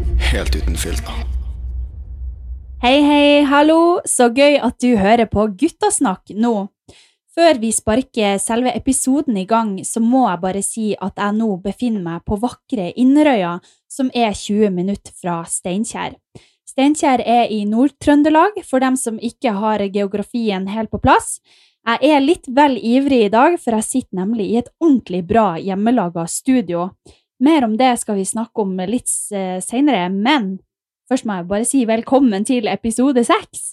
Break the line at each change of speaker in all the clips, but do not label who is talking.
uten filter.
Hei, hei, hallo! Så gøy at du hører på Guttasnakk nå. Før vi sparker selve episoden i gang, så må jeg bare si at jeg nå befinner meg på vakre Inderøya, som er 20 minutter fra Steinkjer. Steinkjer er i Nord-Trøndelag, for dem som ikke har geografien helt på plass. Jeg er litt vel ivrig i dag, for jeg sitter nemlig i et ordentlig bra hjemmelaga studio. Mer om det skal vi snakke om litt eh, seinere, men Først må jeg bare si velkommen til episode seks.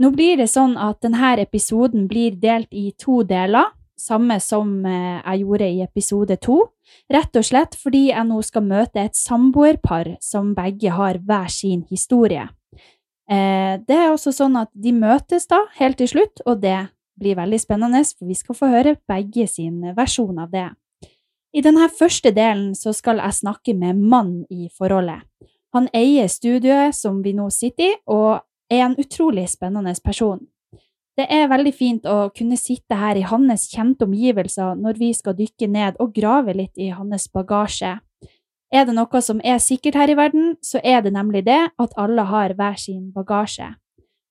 Nå blir det sånn at denne episoden blir delt i to deler, samme som eh, jeg gjorde i episode to, rett og slett fordi jeg nå skal møte et samboerpar som begge har hver sin historie. Eh, Det er også sånn at de møtes da, helt til slutt, og det blir veldig spennende, for vi skal få høre begge sin versjon av det. I denne første delen så skal jeg snakke med mannen i forholdet. Han eier studioet som vi nå sitter i, og er en utrolig spennende person. Det er veldig fint å kunne sitte her i hans kjente omgivelser når vi skal dykke ned og grave litt i hans bagasje. Er det noe som er sikkert her i verden, så er det nemlig det at alle har hver sin bagasje.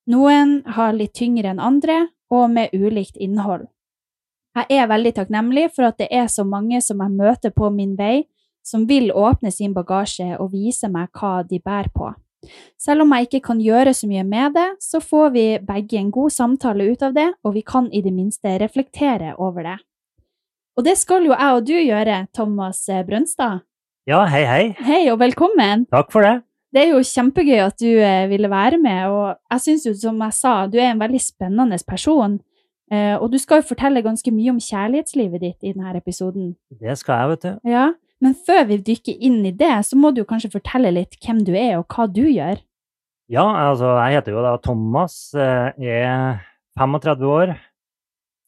Noen har litt tyngre enn andre, og med ulikt innhold. Jeg er veldig takknemlig for at det er så mange som jeg møter på min vei, som vil åpne sin bagasje og vise meg hva de bærer på. Selv om jeg ikke kan gjøre så mye med det, så får vi begge en god samtale ut av det, og vi kan i det minste reflektere over det. Og det skal jo jeg og du gjøre, Thomas eh, Brønstad.
Ja, hei, hei.
Hei og velkommen!
Takk for det.
Det er jo kjempegøy at du eh, ville være med, og jeg syns jo, som jeg sa, du er en veldig spennende person. Eh, Og du skal jo fortelle ganske mye om kjærlighetslivet ditt i denne episoden.
Det skal jeg, vet du.
Ja, men før vi dykker inn i det, så må du jo kanskje fortelle litt hvem du er, og hva du gjør.
Ja, altså, jeg heter jo da Thomas, eh, er 35 år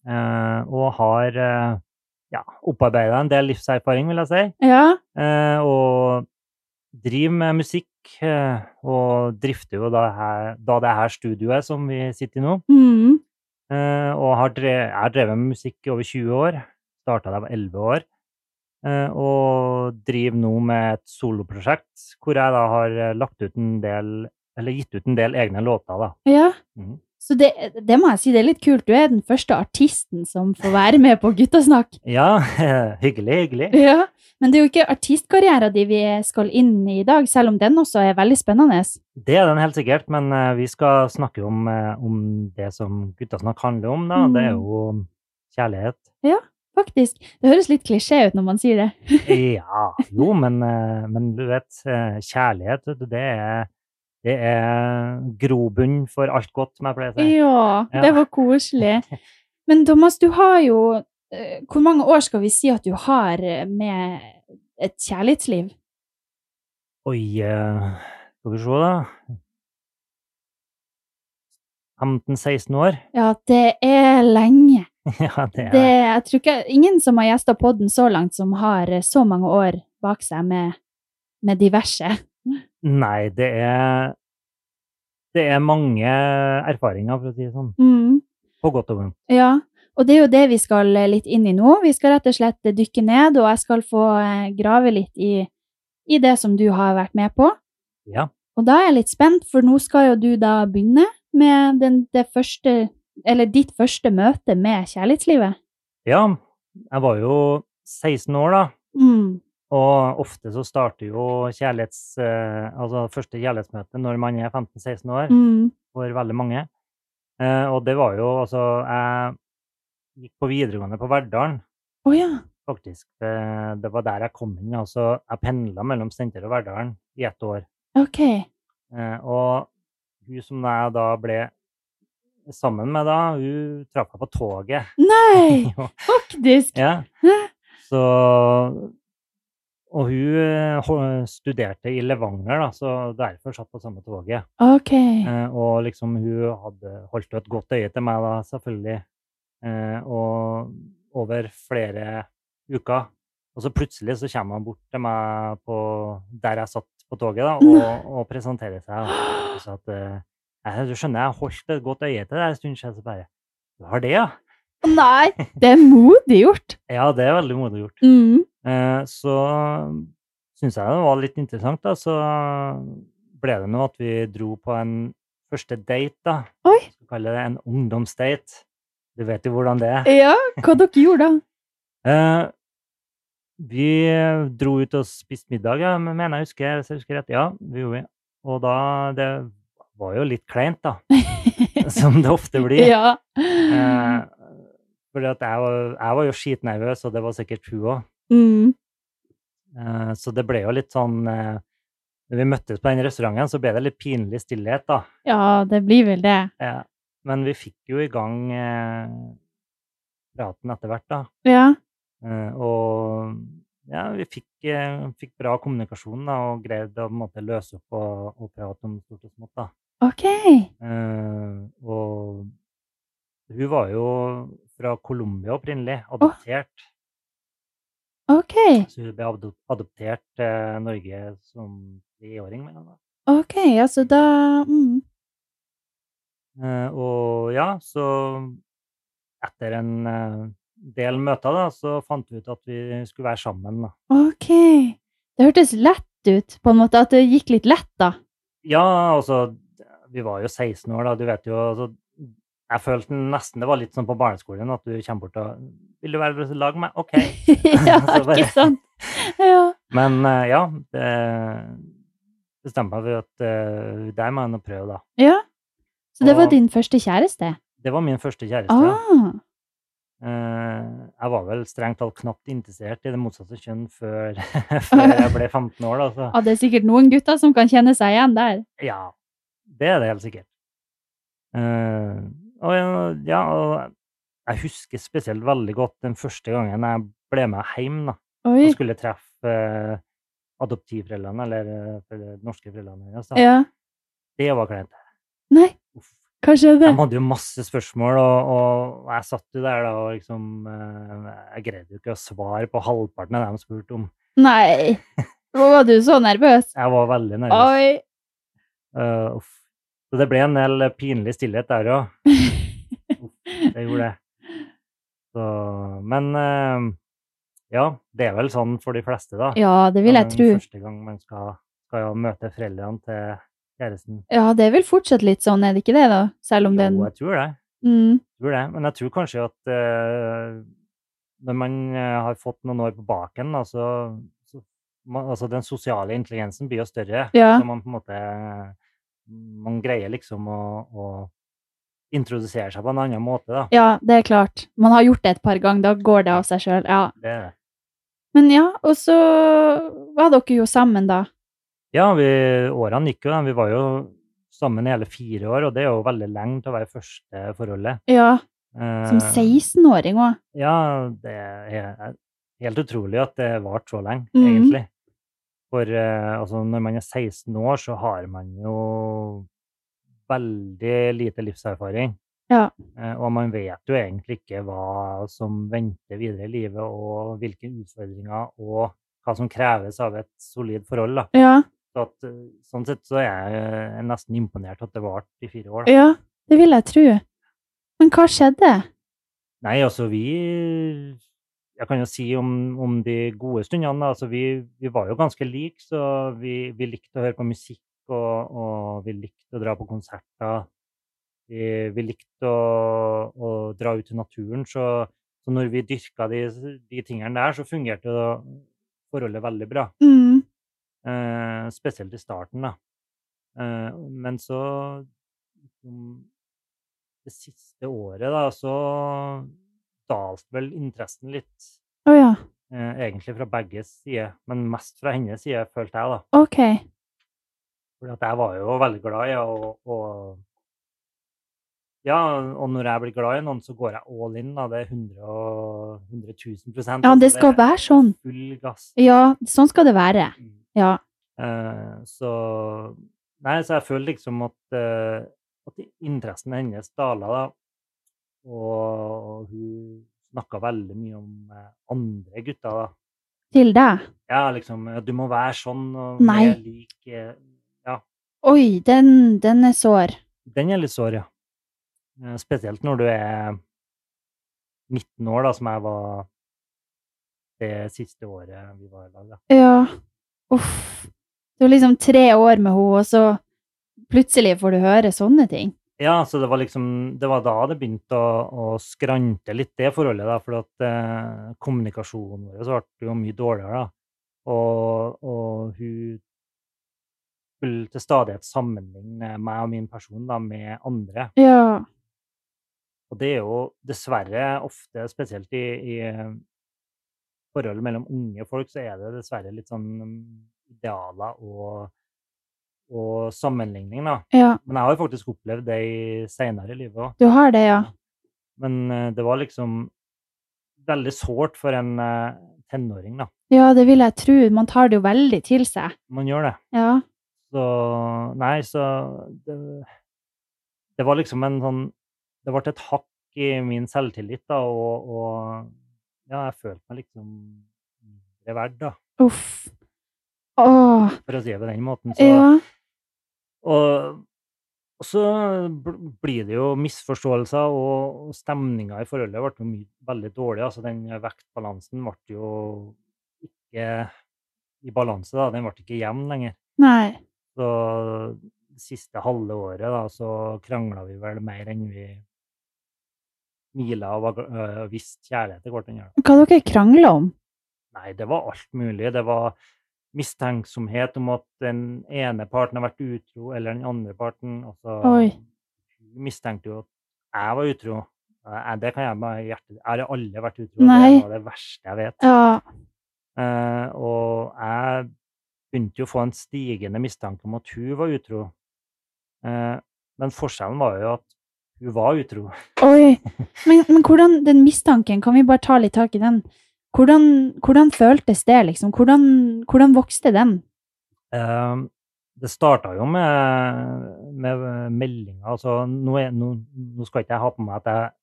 eh, og har eh, ja, opparbeida en del livserfaring, vil jeg si.
Ja,
eh, Og driver med musikk eh, og drifter jo da, her, da det her studioet som vi sitter i nå.
mm,
Eh, og har drev, jeg har drevet med musikk i over 20 år. Starta da jeg var 11 år. eh, og driver nå med et soloprosjekt hvor jeg da har eh, lagt ut en del Eller gitt ut en del egne låter, da.
ja.
Mhm.
Så det, det må jeg si, det er litt kult. Du er den første artisten som får være med på Guttasnakk.
Ja, hyggelig, hyggelig.
Ja. Men det er jo ikke artistkarrieren din vi skal inn i i dag, selv om den også er veldig spennende.
Det er den helt sikkert, men eh, vi skal snakke om, eh, om det som Guttasnakk handler om, da. Det er
Mm.
jo kjærlighet.
Faktisk. Det høres litt klisjé ut når man sier det.
Ja, jo, men, eh, men du vet, eh, kjærlighet, vet du, det er, det er grobunn for alt godt, som jeg pleier å si.
Ja,
Ja.
det var koselig. Men Thomas, du har jo eh, Hvor mange år skal vi si at du har eh, med et kjærlighetsliv?
Oi, eh, skal vi se da. 15-16 år.
Ja, det er lenge.
ja, det
Det,
er
jeg tror ikke, ingen som har gjesta podden så langt, som har eh, så mange år bak seg med, med diverse.
Nei, det er Det er mange erfaringer, for å si det sånn.
Mm,
På godt og vondt.
ja. Og det er jo det vi skal eh, litt inn i nå. Vi skal rett og slett eh, dykke ned, og jeg skal få eh, grave litt i, i det som du har vært med på.
Ja.
Og da er jeg litt spent, for nå skal jo du da begynne med den, det første, eller ditt første møte med kjærlighetslivet.
ja. Jeg var jo 16 år, da.
Mm.
Og ofte så starter jo kjærlighets, eh, altså første kjærlighetsmøte når man er 15-16 år,
Mm.
for veldig mange. Eh, og det var jo altså Jeg gikk på videregående på Verdalen,
Å ja.
faktisk. Eh, det var der jeg kom inn. altså Jeg pendla mellom Steinkjer og Verdalen i ett år.
Ok.
Eh, og hun som jeg da ble sammen med da, hun traff meg på toget.
Nei,
Jo.
faktisk.
Ja.
Hæ?
Så Og hun eh, ho- studerte i Levanger, da, så derfor satt på samme toget.
Ok.
Eh, og liksom hun hadde holdt jo et godt øye til meg da, selvfølgelig. Eh, og over flere uker. Og så plutselig så kommer han bort til meg på der jeg satt på toget, da, og, og presenterer seg. Da. Og sa at eh, «Nei, Du skjønner, jeg har holdt et godt øye til deg en stund siden, så bare Du har det, ja?
Nei, det er modig gjort.
Ja, det er veldig modig gjort.
Mm.
mm, Eh, så syns jeg det var litt interessant, da. Så ble det nå at vi dro på en første date, da.
Oi.
Vi kaller det en ungdomsdate. Du vet jo hvordan det er.
Ja, hva dere gjorde da?
Eh, vi dro ut og spiste middag, ja, men- mener jeg husker, hvis jeg husker rett. Ja, det gjorde vi. Og da Det var jo litt kleint, da. Som det ofte blir.
Ja.
Eh, fordi at jeg var, jeg var jo skitnervøs, og det var sikkert hun òg.
Mm.
Eh, så det ble jo litt sånn eh, Når vi møttes på den restauranten, så ble det litt pinlig stillhet, da.
Ja, det blir vel det.
Eh, men vi fikk jo i gang eh, praten etter hvert, da.
Ja.
Eh, og ja, vi fikk, eh, fikk bra kommunikasjon da, og greide å på en måte, løse opp og, og prate om stort og smått. Da.
OK.
Eh, og hun var jo fra Colombia opprinnelig, adoptert.
OK.
Så hun ble adop- adoptert til Norge som treåring. mener jeg da.
OK, ja, så da mm.
Eh, og ja, så etter en eh, del møter da, så fant vi ut at vi skulle være sammen. da.
OK. Det hørtes lett ut, på en måte. At det gikk litt lett, da.
Ja, altså Vi var jo 16 år, da. Du vet jo altså, Jeg følte nesten det var litt sånn på barneskolen at du kommer bort og 'Vil du være i lag med meg?' OK.
ja,
Så bare-
ikke sant? Ja.
Men eh, ja, det bestemte meg for at eh, der må jeg nå prøve, da.
ja. Så det var
Og-
din første kjæreste?
Det var min første kjæreste.
Ah.
Eh, jeg var vel strengt talt knapt interessert i det motsatte kjønn før, før jeg ble 15 år, da. Så.
Ja, det er sikkert noen gutter som kan kjenne seg igjen der.
Ja, det er det helt sikkert. Eh, og jeg- ja, og jeg husker spesielt veldig godt den første gangen jeg ble med hjem da,
Oi.
og skulle treffe eh, adoptivforeldrene, eller eh, for de norske foreldrene hennes. da.
Ja.
Det var kleint.
Nei,
Uff.
hva skjedde?
De hadde jo masse spørsmål, og, og jeg satt jo der da, og liksom eh, Jeg greide jo ikke å svare på halvparten av det de spurte om.
Nei. Var du så nervøs?
Jeg var veldig nervøs.
Oi.
Eh, uff. Så det ble en del pinlig stillhet der òg. Jeg gjorde det. Så, men eh, ja, det er vel sånn for de fleste, da.
Ja, det vil jeg
Den
tro.
Første gang man skal, skal jo møte foreldrene til kjæresten.
Ja, det er vel fortsatt litt sånn, er det ikke det, da? Selv om den
Jo, jeg tror det.
mm.
tror det. Men jeg tror kanskje at eh, når man eh, har fått noen år på baken, da, så, så man, altså den sosiale intelligensen blir jo større.
Ja.
Så man på en måte Man greier liksom å, å introdusere seg på en annen måte, da.
Ja, det er klart. Man har gjort det et par ganger, da går det av seg sjøl. Ja.
Det er det.
Men ja, og så var dere jo sammen, da.
Ja, vi, årene gikk jo. da. Vi var jo sammen i hele fire år, og det er jo veldig lenge til å være første forholdet.
Ja,
Eh,
som 16-åring òg.
Ja, det er helt utrolig at det varte så lenge,
Mhm.
egentlig. For eh, altså, når man er 16 år, så har man jo veldig lite livserfaring.
Ja.
Eh, og man vet jo egentlig ikke hva som venter videre i livet, og hvilke utfordringer og hva som kreves av et solid forhold. da.
Ja,
Så at, eh, sånn sett så er jeg eh, nesten imponert at det varte i fire år. da.
ja, det vil jeg tro. Men hva skjedde?
Nei, altså vi Jeg kan jo si om, om de gode stundene. da, Altså, vi, vi var jo ganske like, så vi, vi likte å høre på musikk, og, og vi likte å dra på konserter. Vi, vi likte å, å dra ut i naturen, så, så når vi dyrka de, de tingene der, så fungerte jo forholdet veldig bra.
Mm.
Eh, spesielt i starten, da. Eh, men så liksom, Det siste året, da, så dalte vel interessen litt.
Å ja,
Eh, egentlig fra begge sider, men mest fra hennes side, følte jeg, da.
ok.
For jeg var jo veldig glad i å å- ja, og når jeg blir glad i noen, så går jeg all in. da, Det er 100, og- 100 000
Ja,
altså,
det skal
er
være sånn.
Full gass. Mm.
Ja, sånn skal det være. Ja.
Eh, så Nei, så jeg føler liksom at, eh, at interessen hennes dala, da. Og hun snakka veldig mye om eh, andre gutter, da.
Til deg.
Ja, liksom eh, Du må være sånn og
Nei.
mer lik eh,
Oi, den, den er sår.
Den er litt sår, ja. Eh, Spesielt når du er 19 år, da, som jeg var det siste året vi var i lag. da.
Ja. Uff. Det var liksom tre år med henne, og så plutselig får du høre sånne ting.
Ja, så det var liksom Det var da det begynte å, å skrante litt, det forholdet, da. For at eh, kommunikasjonen vår så ble jo mye dårligere, da. Og, og hun skulle til stadighet sammenligne meg og min person da, med andre.
Ja.
Og det er jo dessverre ofte, spesielt i, i eh, forholdet mellom unge folk, så er det dessverre litt sånn idealer og, og sammenligning, da.
ja.
Men jeg har jo faktisk opplevd det i seinere i livet òg.
Du har det, ja.
Men eh, det var liksom veldig sårt for en eh, tenåring, da.
Ja, det vil jeg tro. Man tar det jo veldig til seg.
Man gjør det.
Ja.
Så Nei, så det, det var liksom en sånn Det ble et hakk i min selvtillit, da, og, og ja, jeg følte meg liksom mindre verd, da,
Uff. Åh.
for å si det på den måten. Så,
Ja.
og, og så bl- blir det jo misforståelser, og, og stemninga i forholdet ble jo mye, veldig dårlig. Altså den vektbalansen ble jo ikke i balanse, da. Den ble ikke jevn lenger.
Nei.
Så det siste halve året da, så krangla vi vel mer enn vi mila og var gl- øh, viste kjærlighet til hverandre. da.
Hva dere krangler om?
Nei, det var alt mulig. Det var mistenksomhet om at den ene parten har vært utro, eller den andre parten. Og så
Oi.
Hun mistenkte jo at jeg var utro. Eh, Jeg, det kan jeg med hjertet Jeg har aldri vært utro.
Nei.
Det var det verste jeg vet.
Ja.
Eh, og jeg begynte jo å få en stigende mistanke om at hun var utro. Eh, men forskjellen var jo at hun var utro.
Oi. Men, men hvordan Den mistanken, kan vi bare ta litt tak i den? Hvordan, hvordan føltes det, liksom? Hvordan, hvordan vokste den?
Eh, det starta jo med, med meldinger. Altså, nå, er, nå, nå skal ikke jeg ha på meg at jeg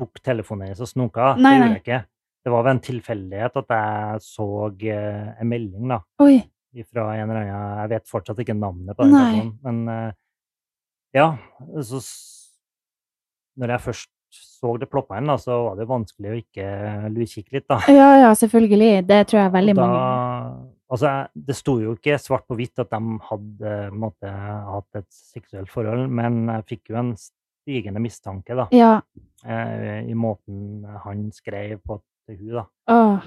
tok telefonen hennes og snoka. Det
Nei,
gjorde
nei.
jeg ikke. Det var ved en tilfeldighet at jeg så eh, en melding da,
Oi.
fra en eller annen Jeg vet fortsatt ikke navnet på den
Nei.
personen, men eh, ja. Så s- når jeg først så det ploppa inn, da, så var det vanskelig å ikke lurkikke litt, da.
Ja, ja, selvfølgelig. Det tror jeg er veldig
Og da,
mange
Altså, jeg- det sto jo ikke svart på hvitt at de hadde eh, på en måte, hatt et seksuelt forhold, men jeg fikk jo en stigende mistanke da,
Ja.
eh, i måten han skrev på til hun da.
Åh.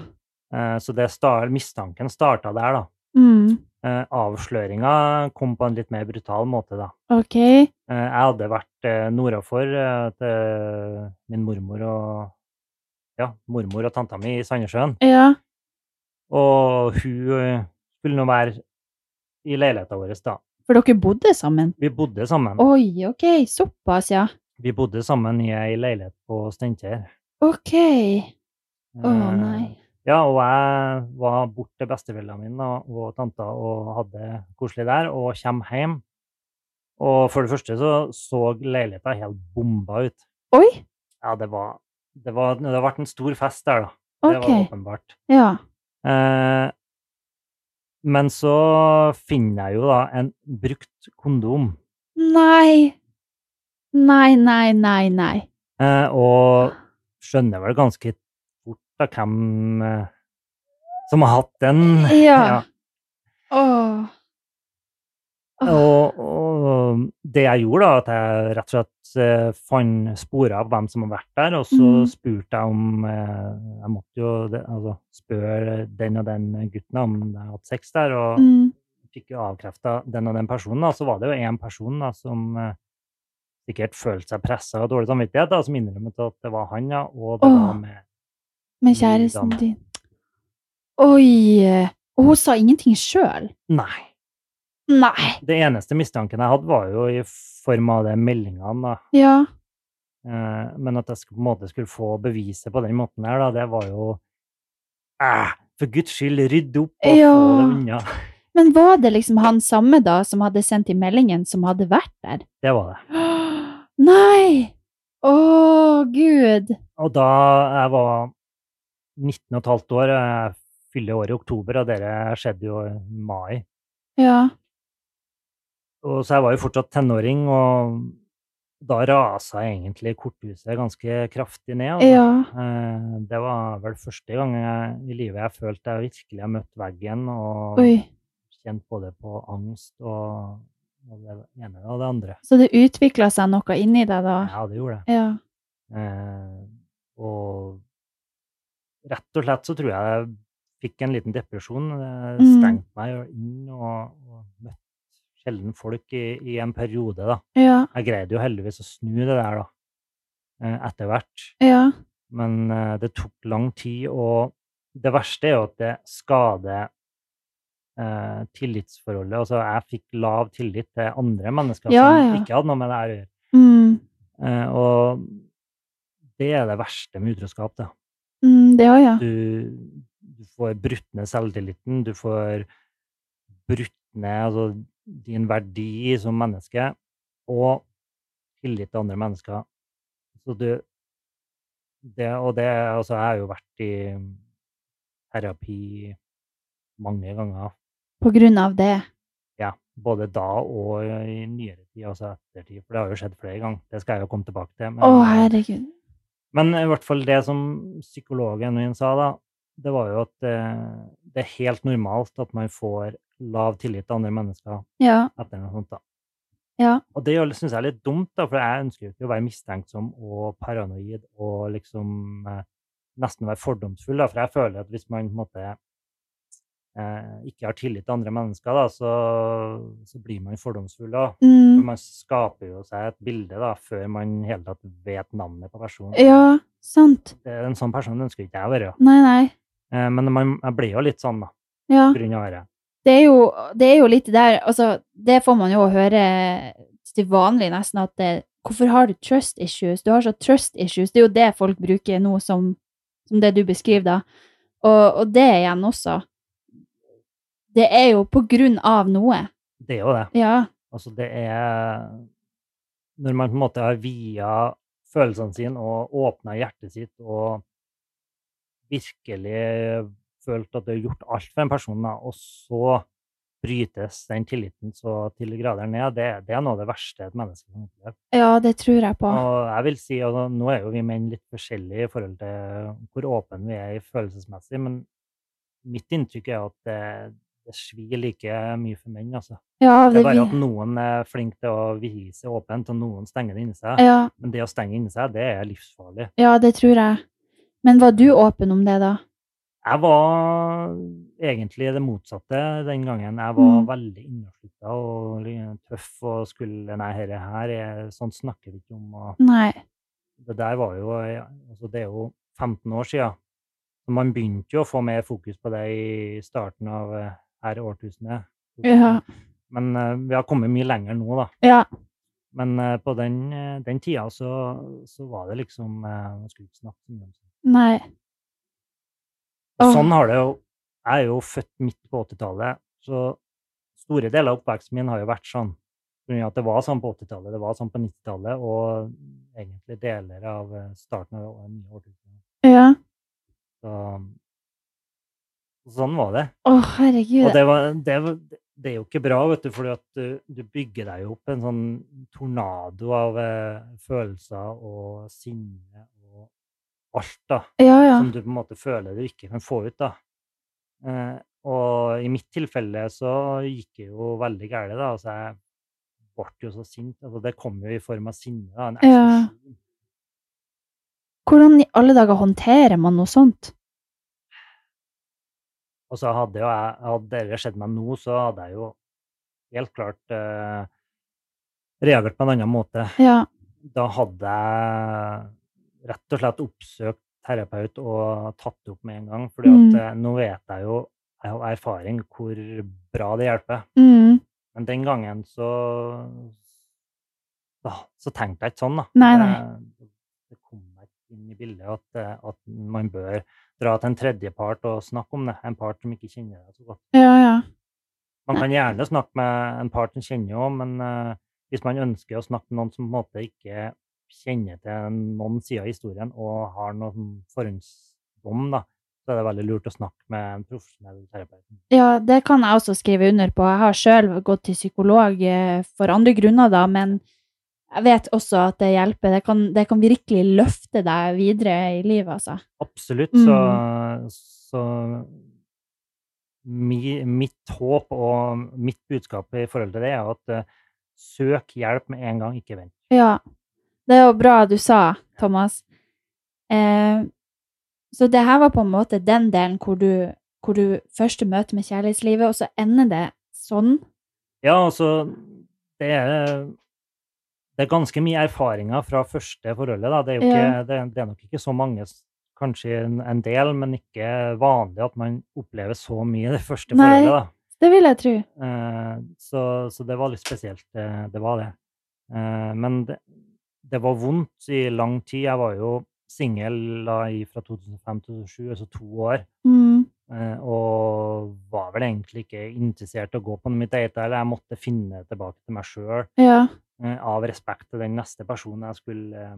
Eh, Så det star, mistanken starta der, da.
Mm.
Eh, Avsløringa kom på en litt mer brutal måte, da.
Ok.
Eh, Jeg hadde vært eh, nordafor eh, til min mormor og ja, mormor og tanta mi i Sandnessjøen.
Ja.
Og hun eh, skulle nå være i leiligheta vår, da.
For dere bodde sammen?
Vi bodde sammen.
Oi, ok. Såpass, ja.
Vi bodde sammen i ei leilighet på Steinkjer.
Ok.
Eh,
Å, nei.
Ja, og jeg var bort til besteforeldrene mine da, og tanta og hadde det koselig der, og kommer hjem. Og for det første så så leiligheta helt bomba ut.
Oi.
Ja, det var Det, var, det har vært en stor fest der, da. Det var
Ok.
åpenbart.
Ja.
Eh, men så finner jeg jo da en brukt kondom.
Nei. Nei, nei, nei, nei.
Eh, og skjønner vel ganske fort da hvem eh, som har hatt den.
Ja. Åh. Åh.
Og, og det jeg gjorde, da, at jeg rett og slett eh, fant sporer av hvem som har vært der, og så
Mhm.
spurte jeg om eh, Jeg måtte jo det- altså, spørre den og den gutten om de hadde hatt sex der, og
Mm.
fikk jo avkrefta den og den personen. Da. Så var det jo én person da, som eh, sikkert følte seg pressa og dårlig samvittighet, da, som innrømmet at det var han, ja, og det
Åh.
var med
Med kjæresten
Lydene.
din. Oi. Og hun sa ingenting sjøl?
Nei.
Nei.
Det eneste mistanken jeg hadde, var jo i form av de meldingene. da.
Ja.
Eh, Men at jeg skulle, på en måte skulle få beviset på den måten her, da, det var jo eh, For guds skyld, rydd opp og få
Ja.
det unna.
Men var det liksom han samme da som hadde sendt i meldingen, som hadde vært der?
Det var det.
Åh, Nei! Å, gud.
Og da jeg var 19 og et halvt år, jeg fyller året i oktober, og dere skjedde jo i mai.
Ja.
Og så jeg var jo fortsatt tenåring, og da rasa egentlig korthuset ganske kraftig ned. altså.
Ja.
Eh, Det var vel første gang jeg, i livet jeg følte jeg virkelig har møtt veggen og
Oi.
kjent både på angst og, og det ene og det andre.
Så det utvikla seg noe inni deg da?
Ja, det gjorde det.
Ja.
Eh, og rett og slett så tror jeg jeg fikk en liten depresjon. Jeg
Mm.
stengte meg jo inn og, og møtte sjelden folk i, i en periode, da.
Ja.
Jeg greide jo heldigvis å snu det der, da, eh, etter hvert.
Ja.
Men eh, det tok lang tid, og det verste er jo at det skader eh, tillitsforholdet. Altså, jeg fikk lav tillit til andre mennesker
Ja,
som
ja.
ikke hadde noe med det her å gjøre.
Mm.
Eh, og det er det verste med utroskap. Da.
Mm, det òg, ja.
Du, du får brutt ned selvtilliten, du får brutt ned altså, din verdi som menneske, og tillit til andre mennesker. Så du det, Og det Altså, jeg har jo vært i terapi mange ganger,
På grunn av det.
ja, både da og i nyere tid, altså ettertid, for det har jo skjedd flere ganger. Det skal jeg jo komme tilbake til. men- eh,
Å, herregud.
men i hvert fall det som psykologen min sa, da, det var jo at eh, det er helt normalt at man får lav tillit til andre mennesker
Ja.
etter noe sånt. da.
Ja.
Og det syns jeg er litt dumt, da, for jeg ønsker jo ikke å være mistenksom og paranoid og liksom eh, nesten være fordomsfull, da, for jeg føler at hvis man på en måte eh, ikke har tillit til andre mennesker, da, så, så blir man fordomsfull. da. For
Mm.
man skaper jo seg et bilde da, før man i hele tatt vet navnet på personen
Ja, sant.
det er en sånn person ønsker ikke jeg å være.
Nei, nei.
Eh, Men man, jeg blir jo litt sånn, da,
Ja.
på grunn av dette.
det er jo, det er jo litt der Altså, det får man jo høre til vanlig nesten at det, Hvorfor har du trust issues? Du har så trust issues. Det er jo det folk bruker nå som, som det du beskriver, da. Og, og det igjen også. Det er jo på grunn av noe.
Det er jo det.
Ja.
Altså, det er Når man på en måte har via følelsene sine og åpna hjertet sitt og virkelig følt at du har gjort alt for en person, da, og så brytes den tilliten så til grader ned, det, det er noe av det verste et menneske kan oppleve.
Ja, det tror jeg på.
Og jeg vil si, altså, Nå er jo vi menn litt forskjellige i forhold til hvor åpne vi er i følelsesmessig, men mitt inntrykk er jo at det, det svir like mye for menn. altså.
Ja,
Det
det
er bare at
vi
noen er flink til å vise åpent, og noen stenger det inni seg.
ja,
Men det å stenge inni seg, det er livsfarlig.
ja, det tror jeg. Men var du åpen om det, da?
Jeg var egentlig det motsatte den gangen. Jeg var
Mm.
veldig inneslutta og li- tøff og skulle Nei, dette her er Sånn snakker vi ikke om. og...
Nei.
det der var jo altså Det er jo 15 år siden. Så man begynte jo å få mer fokus på det i starten av eh, her årtusenet.
Ja.
Men eh, vi har kommet mye lenger nå, da.
Ja.
Men eh, på den, eh, den tida så, så var det liksom eh, Man skulle ikke snakke så mye om sånt.
Nei.
Og
Åh.
sånn har det jo Jeg er jo født midt på 80-tallet, så store deler av oppveksten min har jo vært sånn. På grunn av At det var sånn på 80-tallet, det var sånn på 90-tallet og egentlig deler av eh, starten av det nye årtusenet.
Ja.
Så, sånn var det.
Å, herregud.
Og det, var, det, var, det er jo ikke bra, vet du, fordi at du, du bygger deg jo opp en sånn tornado av eh, følelser og sinne og alt, da.
Ja, ja.
Som du på en måte føler du ikke kan få ut, da. Eh, og i mitt tilfelle så gikk det jo veldig galt, da. Altså, jeg ble jo så sint. Altså, det kom jo i form av sinne, da. En
Ja.
eksplosjon.
Hvordan i alle dager håndterer man noe sånt?
Og så hadde jo jeg, hadde det skjedd meg nå, så hadde jeg jo helt klart eh, reagert på en annen måte.
Ja.
Da hadde jeg rett og slett oppsøkt terapeut og tatt det opp med en gang. fordi at
Mm.
eh, nå vet jeg jo jeg har erfaring hvor bra det hjelper.
Mm.
Men den gangen så da, Så tenkte jeg ikke sånn, da.
Nei, nei.
Det, det kom meg ikke inn i bildet at, eh, at man bør dra til en tredjepart og snakke om det. En part som ikke kjenner deg så godt.
Ja, ja.
Man kan gjerne snakke med en part som kjenner òg, men eh, hvis man ønsker å snakke med noen som på en måte ikke kjenner til noen sider av historien og har noen forhåndsdom, da, så er det veldig lurt å snakke med en profesjonell terapeut.
Ja, det kan jeg også skrive under på. Jeg har sjøl gått til psykolog eh, for andre grunner, da, men jeg vet også at det hjelper. Det kan, det kan virkelig løfte deg videre i livet, altså.
Absolutt, så, så mi, mitt håp og mitt budskap i forhold til det er at eh, søk hjelp med en gang, ikke vent.
Ja. Det er jo bra du sa, Thomas. Eh, så det her var på en måte den delen hvor du, hvor du første møter med kjærlighetslivet, og så ender det sånn.
Ja, altså Det er, det er ganske mye erfaringer fra første forholdet. Da. Det, er jo ikke,
Ja.
det, det er nok ikke så mange, s- kanskje en, en del, men ikke vanlig at man opplever så mye i det første
Nei.
forholdet. Da.
Det vil jeg tro.
Eh, så, så det var litt spesielt, eh, det var det. Eh, men det, det var vondt i lang tid. Jeg var jo singel da i- fra 2005 til 2007, altså to år.
Mm.
Eh, og var vel egentlig ikke interessert i å gå på mitt eget eller jeg måtte finne tilbake til meg sjøl
Ja.
eh, av respekt til den neste personen jeg skulle eh,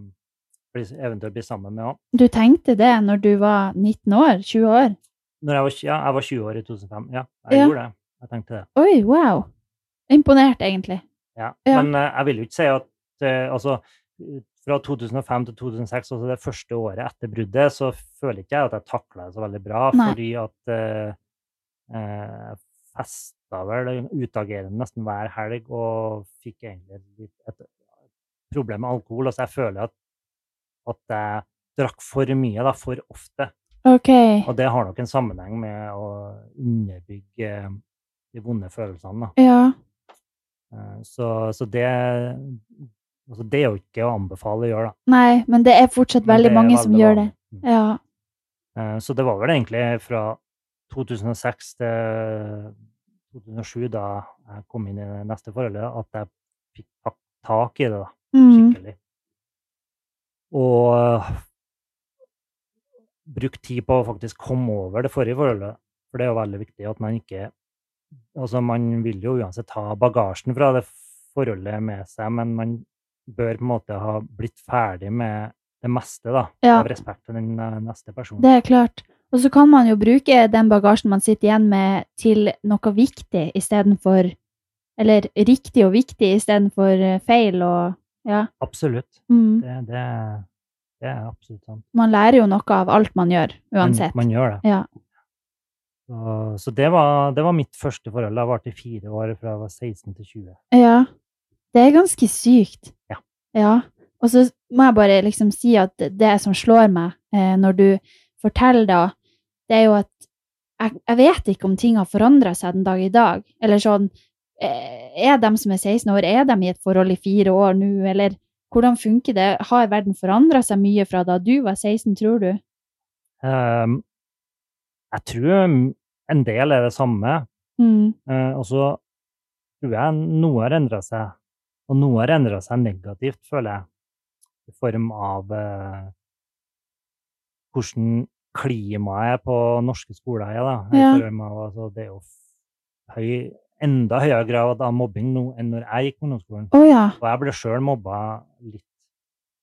bli, eventuelt bli sammen med òg.
Du tenkte det når du var 19 år? 20 år?
Når jeg var, tj- ja, jeg var 20 år i 2005. Ja, jeg
Ja.
gjorde det. Jeg tenkte det.
Oi, wow. Imponert, egentlig.
Ja.
Ja.
Men eh, jeg vil jo ikke si at eh, altså, eh, fra 2005 til 2006, altså det første året etter bruddet, så føler ikke jeg at jeg takla det så veldig bra,
Nei.
fordi at eh, eh, jeg festa vel utagerende nesten hver helg og fikk egentlig litt et problem med alkohol. Altså jeg føler at, at jeg drakk for mye, da, for ofte.
Ok.
Og det har nok en sammenheng med å underbygge eh, de vonde følelsene. da.
Ja.
Eh, Så, så det altså Det er jo ikke å anbefale å gjøre, da.
Nei, men det er fortsatt
Men
veldig
det er
mange som
veldig
gjør det.
vanlig. Mm.
Ja.
Eh, Så det var vel egentlig fra 2006 til 2007, da jeg kom inn i det neste forholdet, at jeg fikk tak, tak i det da,
Mm.
skikkelig. Og eh, brukt tid på å faktisk komme over det forrige forholdet. For det er jo veldig viktig at man ikke Altså, man vil jo uansett ha bagasjen fra det forholdet med seg, men man bør på en måte ha blitt ferdig med det meste, da.
Ja.
Av respekt for den eh, neste personen.
Det er klart. Og så kan man jo bruke den bagasjen man sitter igjen med, til noe viktig istedenfor Eller riktig og viktig istedenfor eh, feil og Ja.
Absolutt.
Mm.
Det, det, det er absolutt sant.
Man lærer jo noe av alt man gjør,
Man,
uansett.
man gjør det.
Ja.
Så, så det, var, det var mitt første forhold. Jeg varte i fire år fra jeg var 16 til 20.
Ja. Det er ganske sykt.
Ja.
Ja. Og så må jeg bare liksom si at det som slår meg eh, når du forteller det, det er jo at jeg, jeg vet ikke om ting har forandra seg den dag i dag. Eller sånn eh, Er de som er 16 år, er de i et forhold i fire år nå, eller hvordan funker det? Har verden forandra seg mye fra da du var 16, tror du?
Ehm, jeg tror mm, en del er det samme,
Mm.
Eh, og så tror jeg noe har endra seg. Og noe har endra seg negativt, føler jeg. I form av eh, hvordan klimaet på norske skoler er. da. I
Ja.
form av, altså, det er jo f- høy, enda høyere grad av mobbing nå enn når jeg gikk på ungdomsskolen.
Å ja.
Og jeg ble sjøl mobba litt,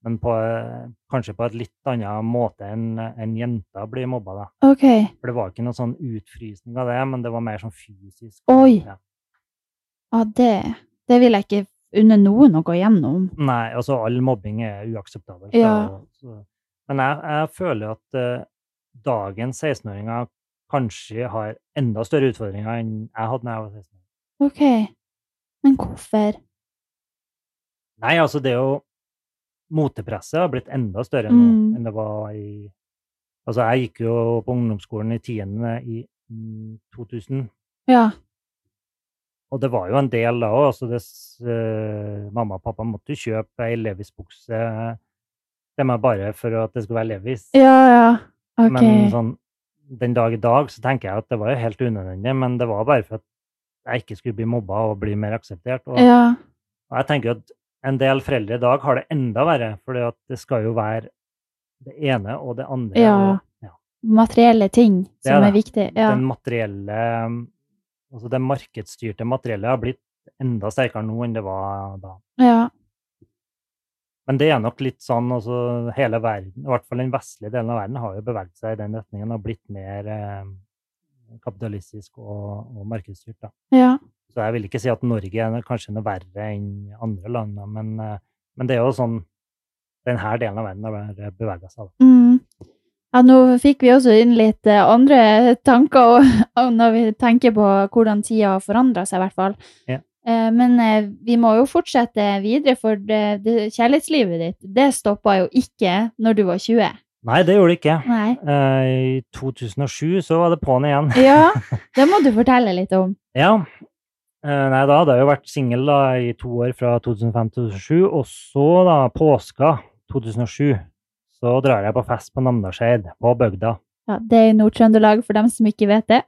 men på, eh, kanskje på et litt annen måte enn enn jenter blir mobba. da.
Ok.
For det var ikke noe sånn utfrysning av det, men det var mer sånn fysisk.
Oi.
Ja.
Ja, det, det vil jeg ikke unne noen å gå gjennom.
Nei, altså all mobbing er uakseptabelt.
Ja.
og- så- Men jeg, jeg føler at eh, dagens 16-åringer kanskje har enda større utfordringer enn jeg hadde da jeg var 16 år.
Ok. Men hvorfor?
Nei, altså det er jo Motepresset har blitt enda større nå
Mm.
enn det var i Altså jeg gikk jo på ungdomsskolen i tiende i mm, 2000,
Ja.
og det var jo en del da òg. Altså det s- eh, mamma og pappa måtte jo kjøpe ei Levis-bukse til meg bare for at det skulle være Levis.
Ja, ja. Ok.
Men sånn, den dag i dag så tenker jeg at det var jo helt unødvendig, men det var bare for at jeg ikke skulle bli mobba og bli mer akseptert. Og,
ja.
og jeg tenker at en del foreldre i dag har det enda verre, for det skal jo være det ene og det andre.
Ja,
og
Materielle ting
Det er
som er,
det.
viktig. Ja.
Den materielle Altså det markedsstyrte materiellet har blitt enda sterkere nå enn det var da.
ja.
Men det er nok litt sånn altså, hele verden, i hvert fall den vestlige delen av verden, har jo beveget seg i den retningen og blitt mer eh, kapitalistisk og, og markedsstyrt. Da.
Ja.
Så jeg vil ikke si at Norge er noe- kanskje noe verre enn andre land, da, men, eh, men det er jo sånn den her delen av verden har beveget eh, seg. Da.
Mm. Ja, nå fikk vi også inn litt eh, andre tanker og, og når vi tenker på hvordan tida har forandra seg, i hvert fall.
Ja.
Eh, Men eh, vi må jo fortsette videre, for det, det kjærlighetslivet ditt det stoppa jo ikke når du var 20.
Nei, det gjorde det ikke.
Nei.
Eh, I 2007 så var det på'n igjen.
Ja, det må du fortelle litt om.
Ja. Eh, Nei, da hadde jeg jo vært singel da, i to år fra 2005 til 2007, og så da påska 2007 så drar jeg på fest på Namdalseid, på bygda.
Ja, det er i Nord-Trøndelag, for dem som ikke vet det.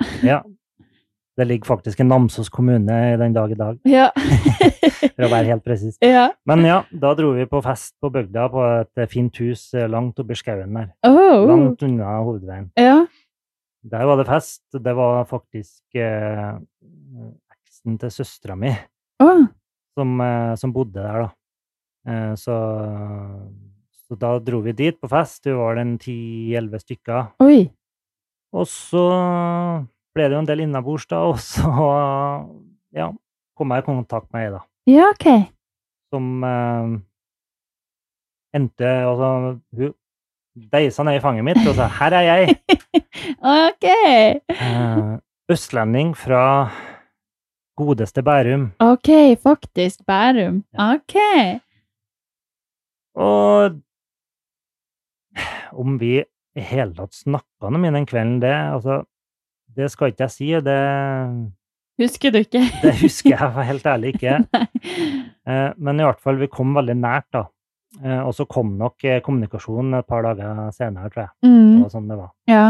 Det ligger faktisk en Namsos kommune i den dag i dag,
Ja.
for å være helt presis.
ja.
Men ja, da dro vi på fest på bygda på et eh, fint hus eh, langt oppi skauen der.
Oh.
Langt unna hovedveien.
Ja.
Der var det fest. Det var faktisk eh, eksen til søstera mi
Å,
som, eh, som bodde der, da. Eh, så, så da dro vi dit på fest. Vi var den 10-11 stykker.
Oi.
Og så ble det jo en del innabords, da, og så ja, kom jeg i kontakt med ei, da.
Ja, OK.
som eh, endte altså, Hun deisa ned i fanget mitt og sa 'her er jeg'.
OK.
Eh, østlending fra godeste Bærum.
OK, faktisk Bærum. OK.
Og om vi i hele tatt snakka noe med den kvelden, det altså, det skal ikke jeg si. og Det,
Husker du ikke?
det husker jeg for helt ærlig ikke.
Nei.
Eh, men i hvert fall, vi kom veldig nært, da. Eh, og så kom nok eh, kommunikasjonen et par dager senere, tror jeg. Det
Mm,
var sånn det var.
ja.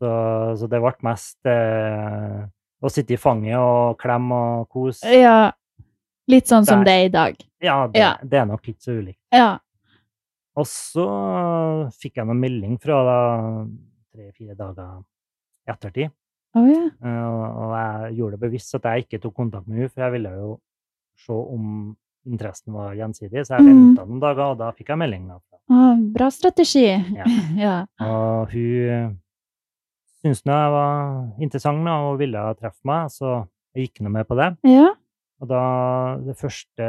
Så, så det ble mest eh, å sitte i fanget og klemme og kose.
ja. Litt sånn som
Der.
det er i dag.
Ja, det,
Ja.
det er nok ikke så ulikt.
Ja.
Og så fikk jeg noen melding fra da tre-fire dager i ettertid.
Å ja.
Eh, og jeg gjorde det bevisst at jeg ikke tok kontakt med henne, for jeg ville jo se om interessen var gjensidig. Så jeg
Mm.
venta noen dager, og da fikk jeg melding. Da.
Å, bra strategi.
Ja.
ja.
Og hun syntes nå jeg var interessant da, og ville treffe meg, så jeg gikk nå med på det.
Ja.
Og da det første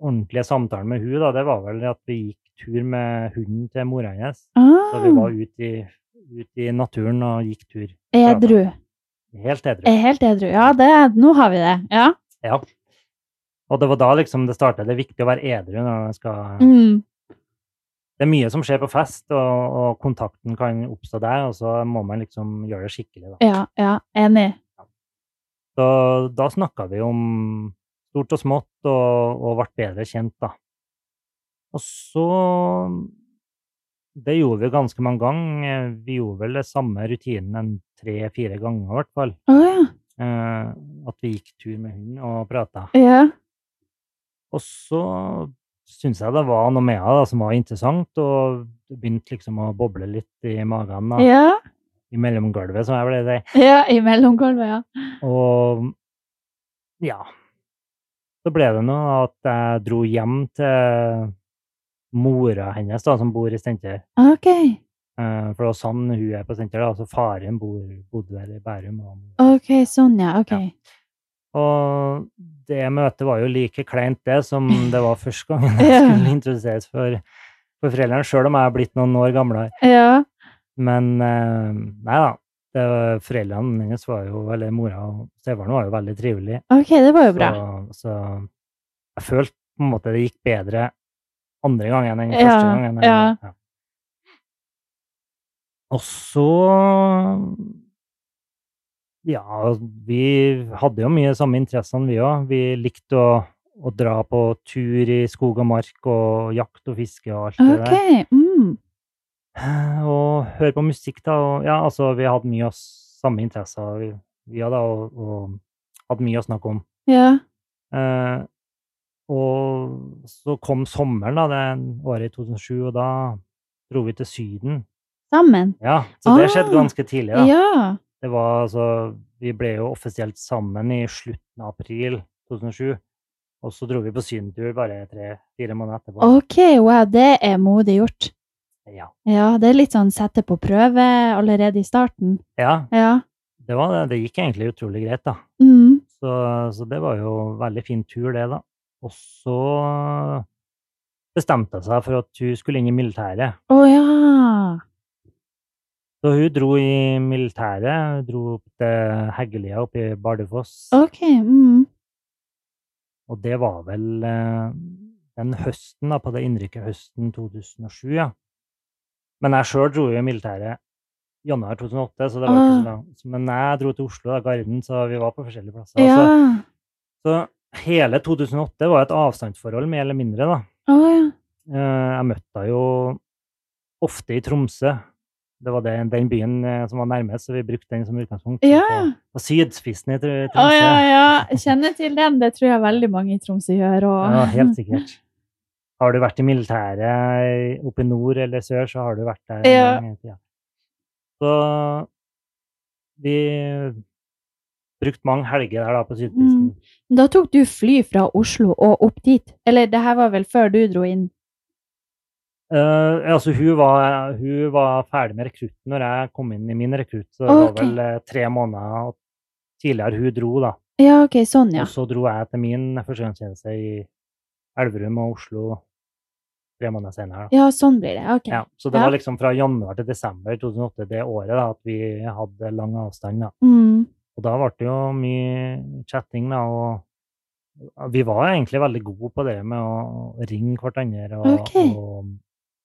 ordentlige samtalen med hun, da, det var vel at vi gikk tur med hunden til mora hennes. Så vi
Ah.
var ute i, ut i naturen og gikk tur.
Edru.
Helt edru.
Jeg er helt edru. Ja, det, nå har vi det. Ja.
Ja. Og det var da liksom det startet. Det er viktig å være edru når man skal
Mm.
Det er mye som skjer på fest, og, og kontakten kan oppstå der, og så må man liksom gjøre det skikkelig, da.
Ja, ja. Enig.
Så da snakka vi om stort og smått, og, og ble bedre kjent, da. Og så Det gjorde vi ganske mange ganger. Vi gjorde vel det samme rutinen en tre-fire ganger, i hvert fall.
Å ja.
Eh, at vi gikk tur med hunden og prata.
Ja.
Og så syntes jeg det var noe med henne da, som var interessant, og det begynte liksom å boble litt i magen da,
Ja.
i mellomgulvet, som jeg ble det.
ja. I mellomgulvet, ja.
Og ja Så ble det nå at jeg dro hjem til mora hennes, da, som bor i Steinkjer.
OK.
Eh, For det var sånn hun er på Steinkjer. da, Altså faren bor, bodde der i Bærum. Og,
OK, sånn, ja. OK.
og det møtet var jo like kleint, det, som det var første gangen
Ja.
jeg skulle introduseres for, for foreldrene, sjøl om jeg er blitt noen år gamlere.
Ja.
Men eh, nei da. Det var, foreldrene hennes var jo, eller mora og stefaren var jo veldig trivelige.
OK, det var jo bra.
Så, så jeg følte på en måte det gikk bedre andre gangen enn
Ja,
første gangen. eller-
ja.
ja. Og så Ja, vi hadde jo mye samme interessene, vi òg. Vi likte å, å dra på tur i skog og mark og jakt og fiske og alt det
OK.
der. Eh,
Mm.
Og høre på musikk, da. Og, ja, altså, vi hadde mye av samme interesser, vi, vi hadde, og, og hadde mye å snakke om.
Ja.
Eh, og så kom sommeren da, det året i 2007, og da dro vi til Syden.
Sammen.
Ja, så det skjedde
Ah,
ganske tidlig. da.
Ja.
Det var, altså, vi ble jo offisielt sammen i slutten av april 2007, og så dro vi på sydentur bare tre-fire måneder etterpå.
OK, wow, det er modig gjort.
Ja.
Ja, det er litt sånn sette på prøve allerede i starten.
ja,
Ja.
det var det. Det gikk egentlig utrolig greit, da.
Mm.
Så, så det var jo veldig fin tur, det, da. Og så bestemte hun seg for at hun skulle inn i militæret.
Å ja.
Så hun dro i militæret, hun dro opp til Heggelia oppe i Bardufoss.
OK. Mm.
Og det var vel eh, den høsten, da, på det innrykket høsten 2007, ja. Men jeg sjøl dro jo i militæret januar 2008, så det var ikke
Ah.
så langt. Men jeg dro til Oslo, da, Garden, så vi var på forskjellige plasser.
Ja.
Så, så hele 2008 var et avstandsforhold, mer eller mindre, da.
Å ja.
Eh, Jeg møtte henne jo ofte i Tromsø. Det var den, den byen eh, som var nærmest, så vi brukte den som utgangspunkt.
Ja,
på-
ja.
På sydspissen i
Å
Tr- Tromsø.
ja, ja. Jeg Kjenner til den. Det tror jeg veldig mange i Tromsø gjør òg.
Ja, helt sikkert. Har du vært i militæret i- oppe i nord eller sør, så har du vært der.
Ja.
en gang i tida. Så vi brukte mange helger der da på sydspissen.
Mm. Da tok du fly fra Oslo og opp dit. Eller det her var vel før du dro inn?
Eh, altså, hun var, hun var ferdig med rekrutten når jeg kom inn i min rekrutt, så det var
Ok.
vel eh, tre måneder tidligere hun dro, da.
Ja, OK, sånn, ja.
Og så dro jeg til min førstegangstjeneste i Elverum og Oslo tre måneder senere. da.
Ja, sånn blir det. OK.
Ja, så det
Ja.
var liksom fra januar til desember 2008, det året da, at vi hadde lang avstand. da.
Mm.
Og da ble det jo mye chatting, da. og Vi var egentlig veldig gode på det med å ringe hverandre og,
Ok.
og,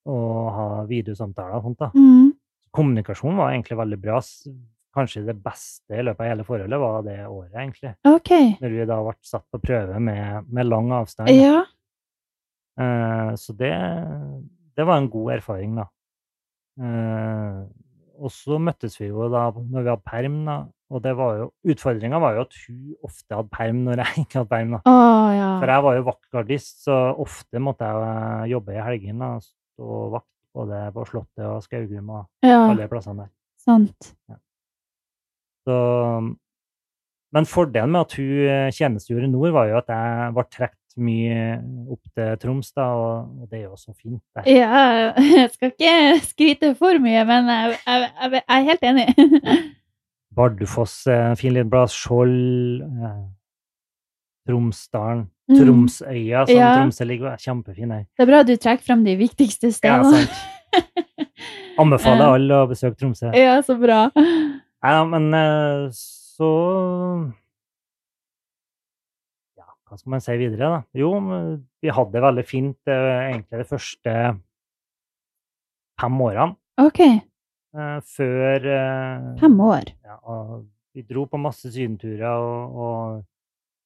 og ha videosamtaler og sånt. da.
Mm.
Kommunikasjonen var egentlig veldig bra. S- Kanskje det beste i løpet av hele forholdet var det året, egentlig.
OK.
Når vi da ble satt på prøve med, med lang avstand. da.
Ja.
Eh, så det, det var en god erfaring, da. Eh, og så møttes vi jo da når vi hadde perm, da. Og det var jo, utfordringa var jo at hun ofte hadde perm når jeg ikke hadde perm. da.
Å ja.
For jeg var jo vaktgardist, så ofte måtte jeg eh, jobbe i helgene og stå vakt både på Slottet og Skaugum og
Ja,
alle de plassene der.
sant.
Så, men fordelen med at hun eh, tjenestegjorde i nord, var jo at jeg ble trukket mye opp til Troms, da, og, og det er jo så fint. der.
Ja, jeg skal ikke skryte for mye, men jeg, jeg, jeg, jeg er helt enig.
Bardufoss, eh, Finnlidblad, Skjold, eh, Tromsdalen,
Mm.
Tromsøya, som
Ja.
Tromsø ligger ved. Kjempefin her.
Det er bra du trekker frem de viktigste
Ja,
stedene.
Anbefaler
Eh.
alle å besøke Tromsø.
Ja, så bra.
Ja, men eh, så Ja, hva skal man si videre, da? Jo, men vi hadde det veldig fint eh, egentlig de første fem årene.
Ok,
eh, Før eh,
fem år.
ja, og vi dro på masse sydenturer og, og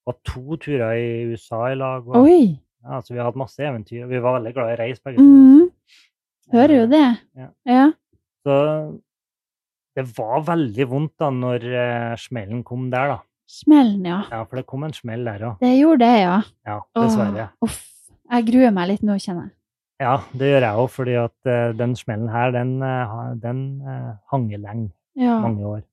var to turer i USA i lag. Og,
Oi.
ja, altså, vi har hatt masse eventyr, og vi var veldig glad i å reise begge to.
Mm, hører jo det.
Ja.
Ja.
Så det var veldig vondt da når eh, smellen kom der, da.
Smellen, ja.
Ja, for det kom en smell der òg.
Det gjorde det, ja.
Ja,
Åh,
dessverre.
Uff. Jeg gruer meg litt nå, kjenner jeg.
Ja, det gjør jeg òg, fordi at eh, den smellen her, den, eh, ha- den eh, hang i lenge,
Ja,
mange år.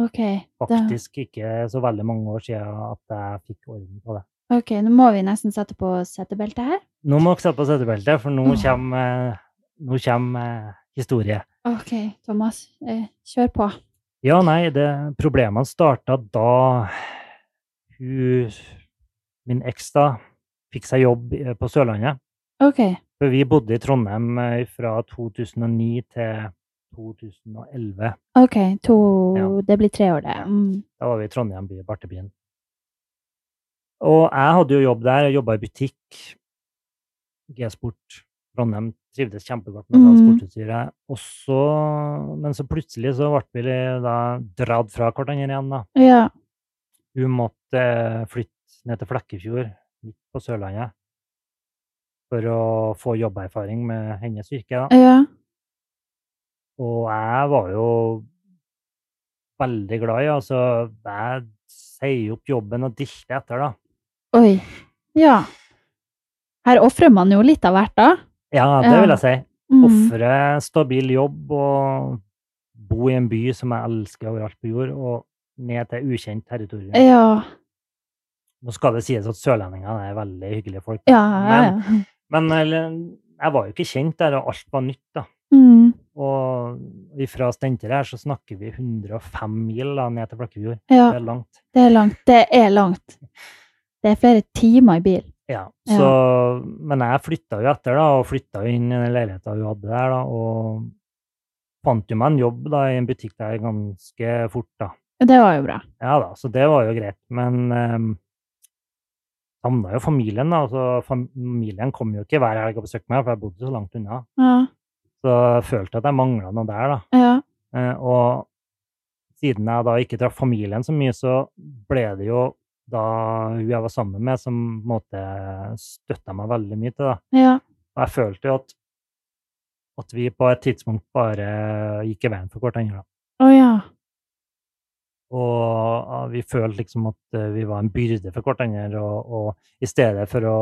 ok. Da,
Faktisk ikke så veldig mange år siden at jeg fikk orden på det.
ok, nå må vi nesten sette på settebeltet her.
Nå må dere sette på settebeltet, for nå
Åh.
kommer, eh, nå kommer eh, historie.
Ok, Thomas, eh, kjør på.
Ja, nei, det, problemene starta da hun, min eks da, fikk seg jobb eh, på Sørlandet.
Ok,
For vi bodde i Trondheim eh, fra 2009 til 2011.
ok, to,
Ja.
det blir tre år det.
Ja.
Mm.
Da var vi i Trondheim by, Bartebyen. Og jeg hadde jo jobb der, jobba i butikk. G-sport. Trondheim trivdes kjempegodt med det
Mm.
sportsutstyret. Og så, men så plutselig så ble vi da dratt fra hverandre igjen, da.
Ja,
Hun måtte eh, flytte ned til Flekkefjord, midt på Sørlandet, for å få jobberfaring med hennes yrke, da.
ja,
Og jeg var jo veldig glad i Altså, jeg sier opp jobben og dilter etter, da.
oi, ja. Her offrer man jo litt av hvert da.
Ja, det vil
Ja.
jeg si.
Mm.
Ofre stabil jobb og bo i en by som jeg elsker overalt på jord, og ned til ukjent territorium.
Ja,
Nå skal det sies at sørlendingene er veldig hyggelige folk.
ja, ja, ja.
Men eller, jeg var jo ikke kjent der, og alt var nytt. da.
Mm.
Og fra Steinkjer her så snakker vi 105 mil da, ned til Flekkefjord.
Ja,
Det er langt.
det er langt, det er langt. Det er flere timer i bil.
Ja.
Ja.
Så, men jeg flytta jo etter, da, og flytta jo inn i den leiligheta hun hadde der. da, og fant jo meg en jobb da, i en butikk der ganske fort. da.
Det var jo bra.
Ja da, så det var jo greit. Men um, savna jo familien, da. Altså, familien kom jo ikke hver helg og besøkte meg, for jeg bodde så langt unna.
Ja.
Så jeg følte at jeg mangla noe der, da.
ja.
Eh, og siden jeg da ikke traff familien så mye, så ble det jo da hun jeg var sammen med, som på en måte støtta meg veldig mye til. da.
ja.
Og jeg følte jo at, at vi på et tidspunkt bare gikk i veien for hverandre. da.
Å ja.
Og eh, vi følte liksom at eh, vi var en byrde for hverandre, og, og i stedet for å,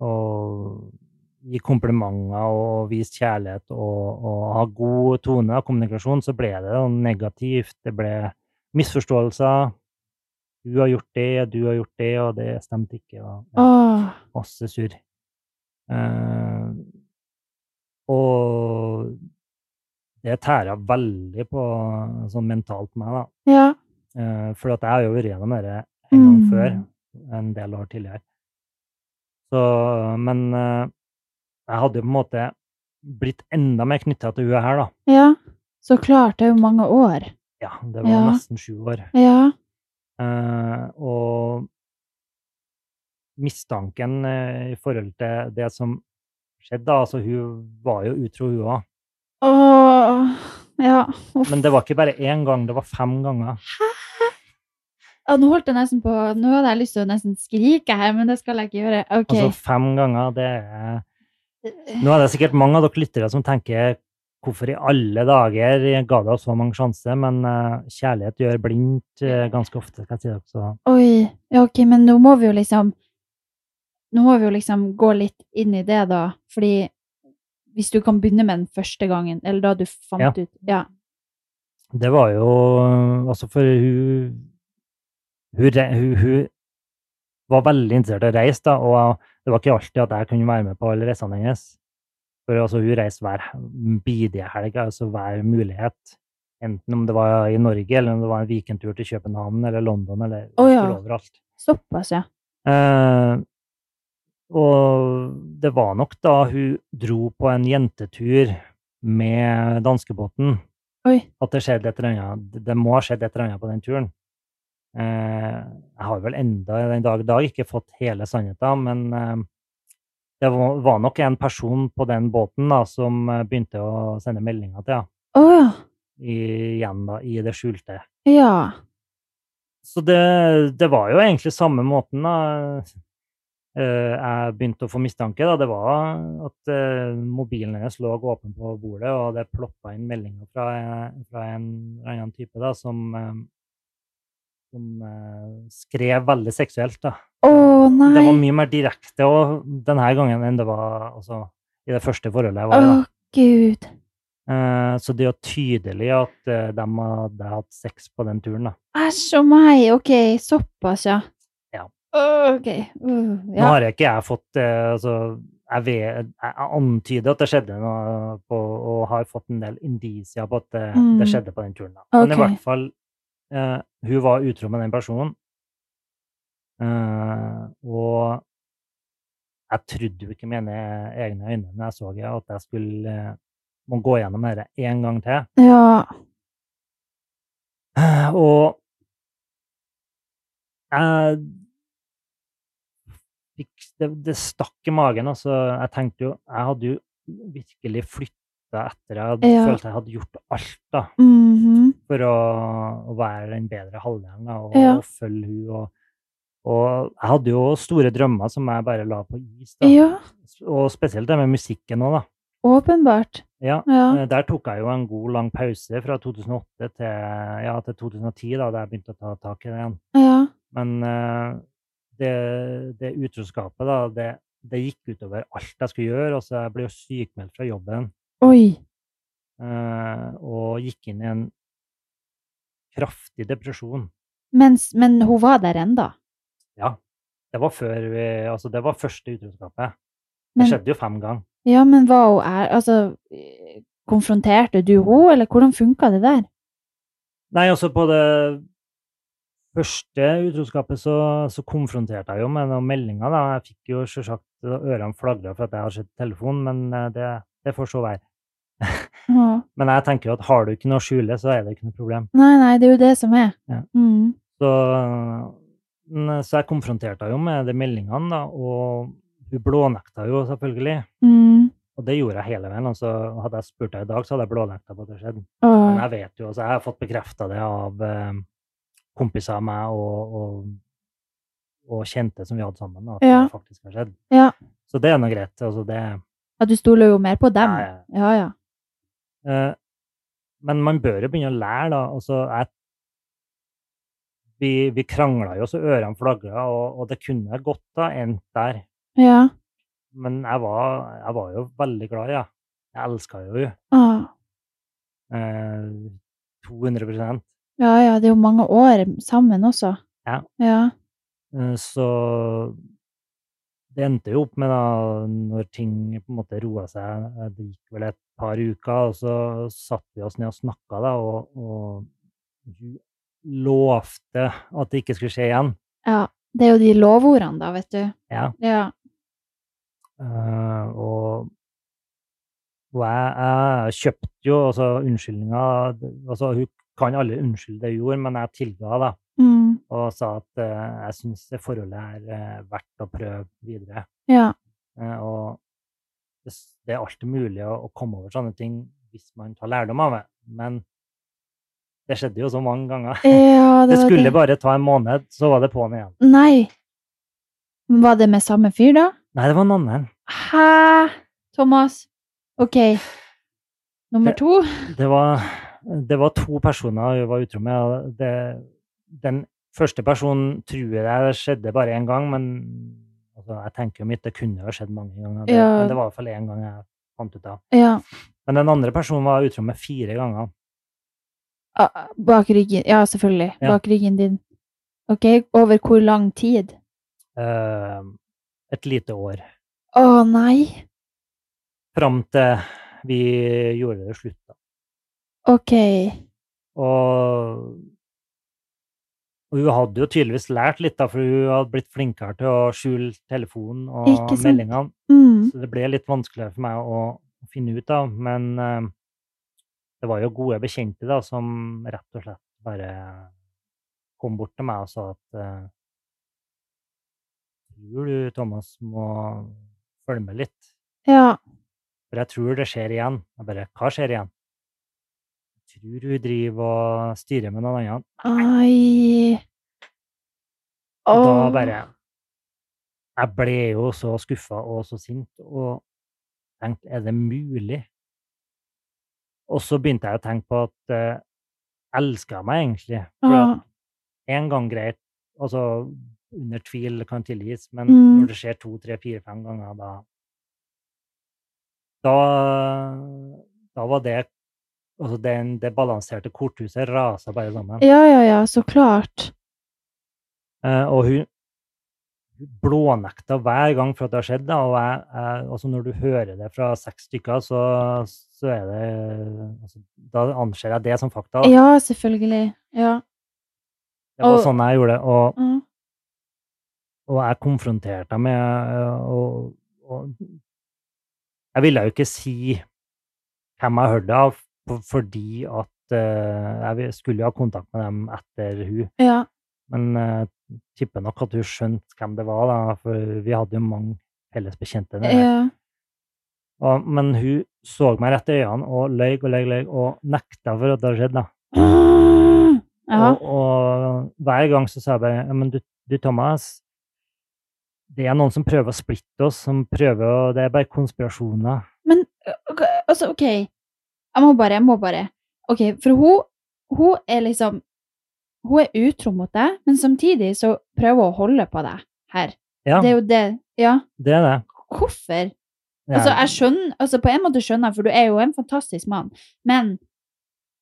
å gi komplimenter og vise kjærlighet og, og ha god tone og kommunikasjon, så ble det noe negativt. Det ble misforståelser. Du har gjort det, du har gjort det, og det stemte ikke. Og, ja
Åh.
masse surr. Eh, og det tæra veldig på sånn mentalt på meg, da.
Ja.
Eh, for at jeg har jo vært gjennom dette en gang
Mm.
før, en del år tidligere. Så, men eh, jeg hadde jo på en måte blitt enda mer knytta til hun her, da.
Ja. Så klart, det er jo mange år.
Ja, det var
Ja.
nesten sju år.
Ja.
Eh, og mistanken eh, i forhold til det som skjedde, da, altså hun var jo utro, hun òg.
Åh. Ja. Uff.
Men det var ikke bare én gang, det var fem ganger.
Ja, nå holdt jeg nesten på Nå hadde jeg lyst til å nesten skrike her, men det skal jeg ikke gjøre. OK.
Altså fem ganger, det er Nå er det sikkert mange av dere lyttere som tenker hvorfor i alle dager ga det oss så mange sjanser, men eh, kjærlighet gjør blindt eh, ganske ofte, skal jeg si dere. Så
Oi. Ja, OK, men nå må vi jo liksom Nå må vi jo liksom gå litt inn i det, da. Fordi hvis du kan begynne med den første gangen, eller da du fant
Ja.
ut Ja.
Det var jo øh, Altså, for hun Hun, re- hun, hun var veldig interessert i å reise, da, og det var ikke alltid at jeg kunne være med på alle reisene hennes. For altså, hun reiste hver bidige helg, altså hver mulighet. Enten om det var i Norge, eller om det var en weekendtur til København eller London, eller
Å, ja.
skulle overalt.
Såpass, ja.
Eh, og det var nok da hun dro på en jentetur med danskebåten
Oi.
at det skjedde et eller annet. Det- Det må ha skjedd et eller annet på den turen. Eh, jeg har vel enda den dag i dag ikke fått hele sannheten, men eh, det var, var nok en person på den båten da, som eh, begynte å sende meldinger til henne
Å ja.
i- igjen da, i det skjulte.
Ja.
Så det, det var jo egentlig samme måten da eh, jeg begynte å få mistanke. da, Det var at eh, mobilen hennes lå åpen på bordet, og det ploppa inn meldinger fra, fra en eller annen type da, som, eh, som eh, skrev veldig seksuelt. da.
Å
Det var
nei.
mye mer direkte og denne gangen enn det var altså, i det første forholdet jeg
Å
var i. da.
gud.
Eh, så det er jo tydelig at eh, de hadde hatt sex på den turen. da.
Æsj og meg. OK, såpass, ja.
Ja.
Å, OK. Uh,
Nå
ja.
har jeg ikke jeg fått eh, altså, jeg, vet, jeg antyder at det skjedde noe, på, og har fått en del indisier på at det,
Mm.
det skjedde på den turen. Da. Men
Ok.
i hvert fall, eh, hun var utro med den personen. Eh, og jeg trodde jo ikke mine egne øyne når jeg så det, at jeg skulle eh, må gå gjennom dette en gang til.
ja.
Eh, Og jeg fikk, det, det stakk i magen. Altså, jeg tenkte jo Jeg hadde jo virkelig flytta etter jeg hadde,
Ja.
følte jeg hadde gjort alt da,
Mhm.
for å, å være den bedre halvdelen da, og,
Ja.
og følge hun. Og, og jeg hadde jo store drømmer som jeg bare la på is. Da.
Ja.
Og spesielt det med musikken òg, da.
Åpenbart.
Ja.
Ja.
Eh, Der tok jeg jo en god lang pause fra 2008 til, ja, til 2010, da, da jeg begynte å ta tak i det igjen.
Ja.
Men eh, det, det utroskapet, da, det, det gikk utover alt jeg skulle gjøre. Altså, jeg ble jo sykmeldt fra jobben
Oi.
eh, og gikk inn i en kraftig depresjon.
Mens, men hun var der ennå.
Det var, før vi, altså, det var første utroskapet. Det
Men,
skjedde jo fem ganger.
ja, men var hun er, altså, eh, konfronterte du henne, eller hvordan funka det der?
Nei, altså på det første utroskapet så, så konfronterte jeg jo med noen meldinger. da. Jeg fikk jo selvsagt ørene flagra for at jeg hadde sett telefonen, men eh, det, det får så være.
Åh.
Men jeg tenker jo at har du ikke noe å skjule, så er det ikke noe problem.
Nei, nei, det er jo det som er.
Ja.
Mm.
Så, men- eh, så jeg konfronterte henne jo med de meldingene, da, og hun blånekta jo selvfølgelig.
Mm.
Og det gjorde jeg hele veien. Altså, hadde jeg spurt deg i dag, så hadde jeg blånekta på at det skjedde. Men
Åh.
jeg vet jo, altså, jeg har fått bekrefta det av eh, kompiser av meg og, og, og kjente som vi hadde sammen, at
Ja.
det faktisk har skjedd.
Ja.
Så det er nå greit. Altså, det,
Ja, du stoler jo mer på dem.
Ja, ja.
Ja, ja.
Eh, men man bør jo begynne å lære, da. Altså, jeg, vi vi krangla jo så ørene flagra, og, og det kunne godt ha endt der.
Ja.
Men jeg var, jeg var jo veldig glad i henne. Jeg elska jo henne
Åh.
eh, 200
Ja, ja, det er jo mange år sammen også.
Ja.
Ja.
Eh, Så det endte jo opp med, da, når ting på en måte roa seg eh, Det gikk vel et par uker, og så satt vi oss ned og snakka, da, og, og hun lovte at det ikke skulle skje igjen.
ja. Det er jo de lovordene, da, vet du.
Ja.
Ja.
Eh, og og jeg, jeg kjøpte jo altså unnskyldninga altså, Hun kan aldri unnskylde det hun gjorde, men jeg tilga da,
Mm.
og sa at eh, jeg syns det forholdet er eh, verdt å prøve videre.
Ja.
Eh, Og det, s- det er alltid mulig å, å komme over sånne ting hvis man tar lærdom av det. Men det skjedde jo så mange ganger.
Ja,
Det
var
skulle bare ta en måned, så var det på'n igjen.
Nei. Men var det med samme fyr, da?
Nei, det var en annen.
Hæ? Thomas? Ok. Nummer
Det-
to?
Det var, det var to personer jeg var utro med. og Det, den første personen tror jeg det skjedde bare én gang, men altså, jeg tenker jo mitt, det kunne jo ha skjedd mange ganger. Det,
Ja.
Men det var i hvert fall én gang jeg fant ut av.
Ja.
Men den andre personen var utro med fire ganger.
Ah, Bak ryggen. Ja, selvfølgelig.
Ja.
Bak ryggen din. Ok, over hvor lang tid?
eh, et lite år.
Å, nei.
fram til vi gjorde det slutt. da.
Ok.
Og, og hun hadde jo tydeligvis lært litt, da, for hun hadde blitt flinkere til å skjule telefonen og
Ikke sant.
meldingene.
Mm.
Så det ble litt vanskeligere for meg å, å finne ut av. Men eh, det var jo gode bekjente da, som rett og slett bare kom bort til meg og sa at eh, tror du, Thomas, må følge med litt.
Ja.
For jeg tror det skjer igjen. Jeg bare, hva skjer igjen? Jeg tror hun driver og styrer med noen annen.
Ai.
Og da
Åh.
bare Jeg ble jo så skuffa og så sint og tenkte, er det mulig? Og så begynte jeg å tenke på at uh, elska meg egentlig. For
Ah.
at en gang greit, altså under tvil kan tilgis, men
Mm.
når det skjer to, tre, fire, fem ganger, da Da, da var det Altså, den, det balanserte korthuset rasa bare sammen.
Ja, ja, ja, så klart.
Eh, og hun hun blånekta hver gang for at det har skjedd. Da, og jeg, jeg, altså når du hører det fra seks stykker, så, så er det altså, Da anser jeg det som fakta. Da.
Ja, selvfølgelig. Ja.
Det var
og-
sånn jeg gjorde det. Og,
Mm.
og jeg konfronterte henne med eh, og, og Jeg ville jo ikke si hvem jeg hørte det av, f- fordi at eh, jeg vil- skulle jo ha kontakt med dem etter hun.
Ja.
Men eh, tipper nok at hun skjønte hvem det var, da, for vi hadde jo mange felles bekjente. der.
Ja.
Og, men hun så meg rett i øynene og løy og løy og løy og nekta for at det hadde skjedd. da.
Ja.
Og, og hver gang så sa jeg bare ja, men du, du, Thomas, det er noen som prøver å splitte oss, som prøver å Det er bare konspirasjoner.
Men ok, altså, OK. Jeg må bare, jeg må bare. OK, for hun, hun er liksom Hun er utro mot deg, men samtidig så prøver hun å holde på deg her.
Ja,
Det er jo det Ja,
det er det.
hvorfor?
Ja.
Altså, jeg skjønner Altså, på en måte skjønner jeg, for du er jo en fantastisk mann, men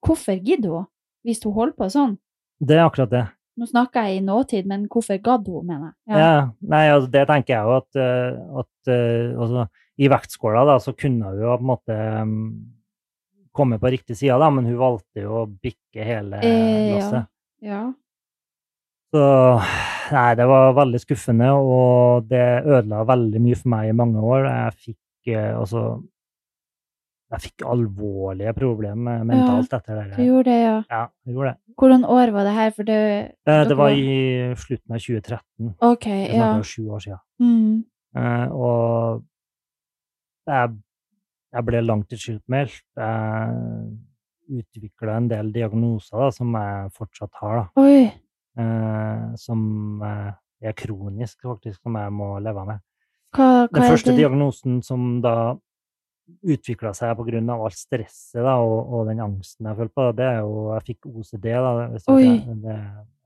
hvorfor gidder hun? Hvis hun holder på sånn?
Det er akkurat det.
Nå snakker jeg i nåtid, men hvorfor gadd hun, mener jeg?
Ja. Nei, altså, det tenker jeg jo at, eh, at eh, altså, I vektskåla da, så kunne hun jo på en måte mm, komme på riktig side, da, men hun valgte jo å bikke hele
Eh, ja.
lasset.
ja.
Så nei, det var veldig skuffende, og det ødela veldig mye for meg i mange år. Jeg fikk eh, altså Jeg fikk alvorlige problemer eh, mentalt etter det.
Du gjorde det, ja.
Ja, jeg gjorde det.
Hvordan år var det her? For det
Eh,
Dere
Det var
var-
i slutten av 2013.
OK,
Det er
ja.
jo sju år siden.
Mm.
Eh, og jeg, jeg ble langtidssykmeldt. Jeg utvikla en del diagnoser da, som jeg fortsatt har, da.
Oi.
Eh, som eh, er kronisk, faktisk, som jeg må leve med.
Hva, hva
Den
er
første
det?
diagnosen som da utvikla seg pga. alt stresset da, og, og den angsten jeg følte på, det er jo Jeg fikk OCD. da, hvis dere-
Oi.
det,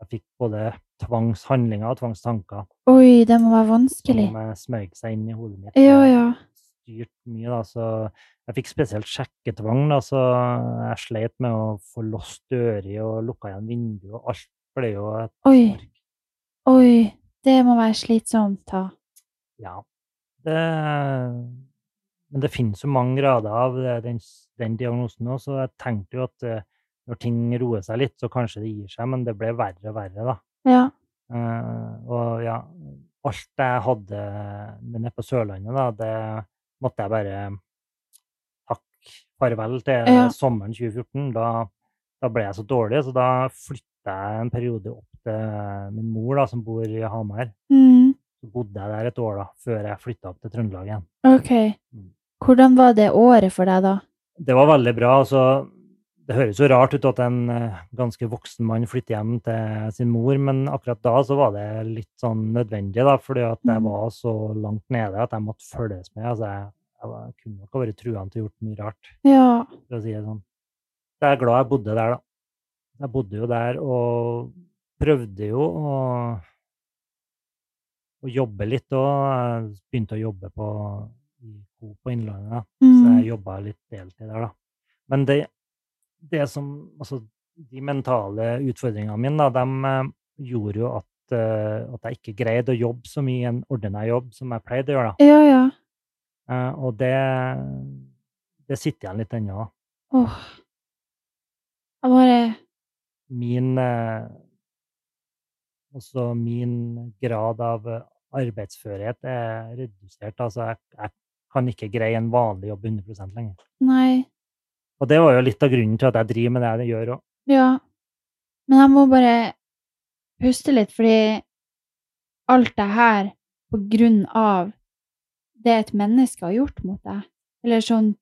jeg fikk både tvangshandlinger og tvangstanker
Oi, det må være vanskelig.
som eh, smøg seg inn i hodet mitt.
Ja,
og
ja.
Styrt mye, da, så jeg fikk spesielt sjekketvang, da, så jeg sleit med å få låst dører og lukka igjen vinduet, og alt ble jo et
Oi.
ark.
Oi. Det må være slitsomt, da.
Ja. Det, men det finnes jo mange grader av det- den, s- den diagnosen òg, så jeg tenkte jo at eh, når ting roer seg litt, så kanskje det gir seg, men det ble verre og verre, da.
Ja.
Eh, og ja, alt jeg hadde nede på Sørlandet, da, det måtte jeg bare takke farvel til
Ja.
sommeren 2014. Da, da ble jeg så dårlig, så da flytta jeg en periode opp til min mor, da, som bor i Hamar.
Mm.
Så bodde jeg der et år da, før jeg flytta opp til Trøndelag igjen.
OK.
Mm.
Hvordan var det året for deg, da?
Det var veldig bra. altså Det høres jo rart ut at en eh, ganske voksen mann flytter hjem til sin mor, men akkurat da så var det litt sånn nødvendig, da, fordi at jeg
Mhm.
var så langt nede at jeg måtte følges med. altså Jeg, jeg, var, jeg kunne nok ha vært truende til å gjort mye rart,
Ja.
for å si det sånn. Så jeg er glad jeg bodde der, da. Jeg bodde jo der og prøvde jo å, å jobbe litt òg. Begynte å jobbe på i Coop på Innlandet. da. Så jeg
Mm.
jobba litt deltid der, da. Men det, det som Altså, de mentale utfordringene mine, da, de eh, gjorde jo at, eh, at jeg ikke greide å jobbe så mye i en ordinær jobb som jeg pleide å gjøre, da.
Ja, ja.
Eh, og det det sitter igjen litt ennå. da.
Åh. Jeg bare
Min eh, Altså min grad av eh, arbeidsførhet er redusert. Altså, jeg, jeg kan ikke greie en vanlig jobb 100 lenger.
Nei.
Og det var jo litt av grunnen til at jeg driver med det jeg gjør òg.
Ja. Men jeg må bare puste litt, fordi alt det her på grunn av det et menneske har gjort mot deg. Eller sånn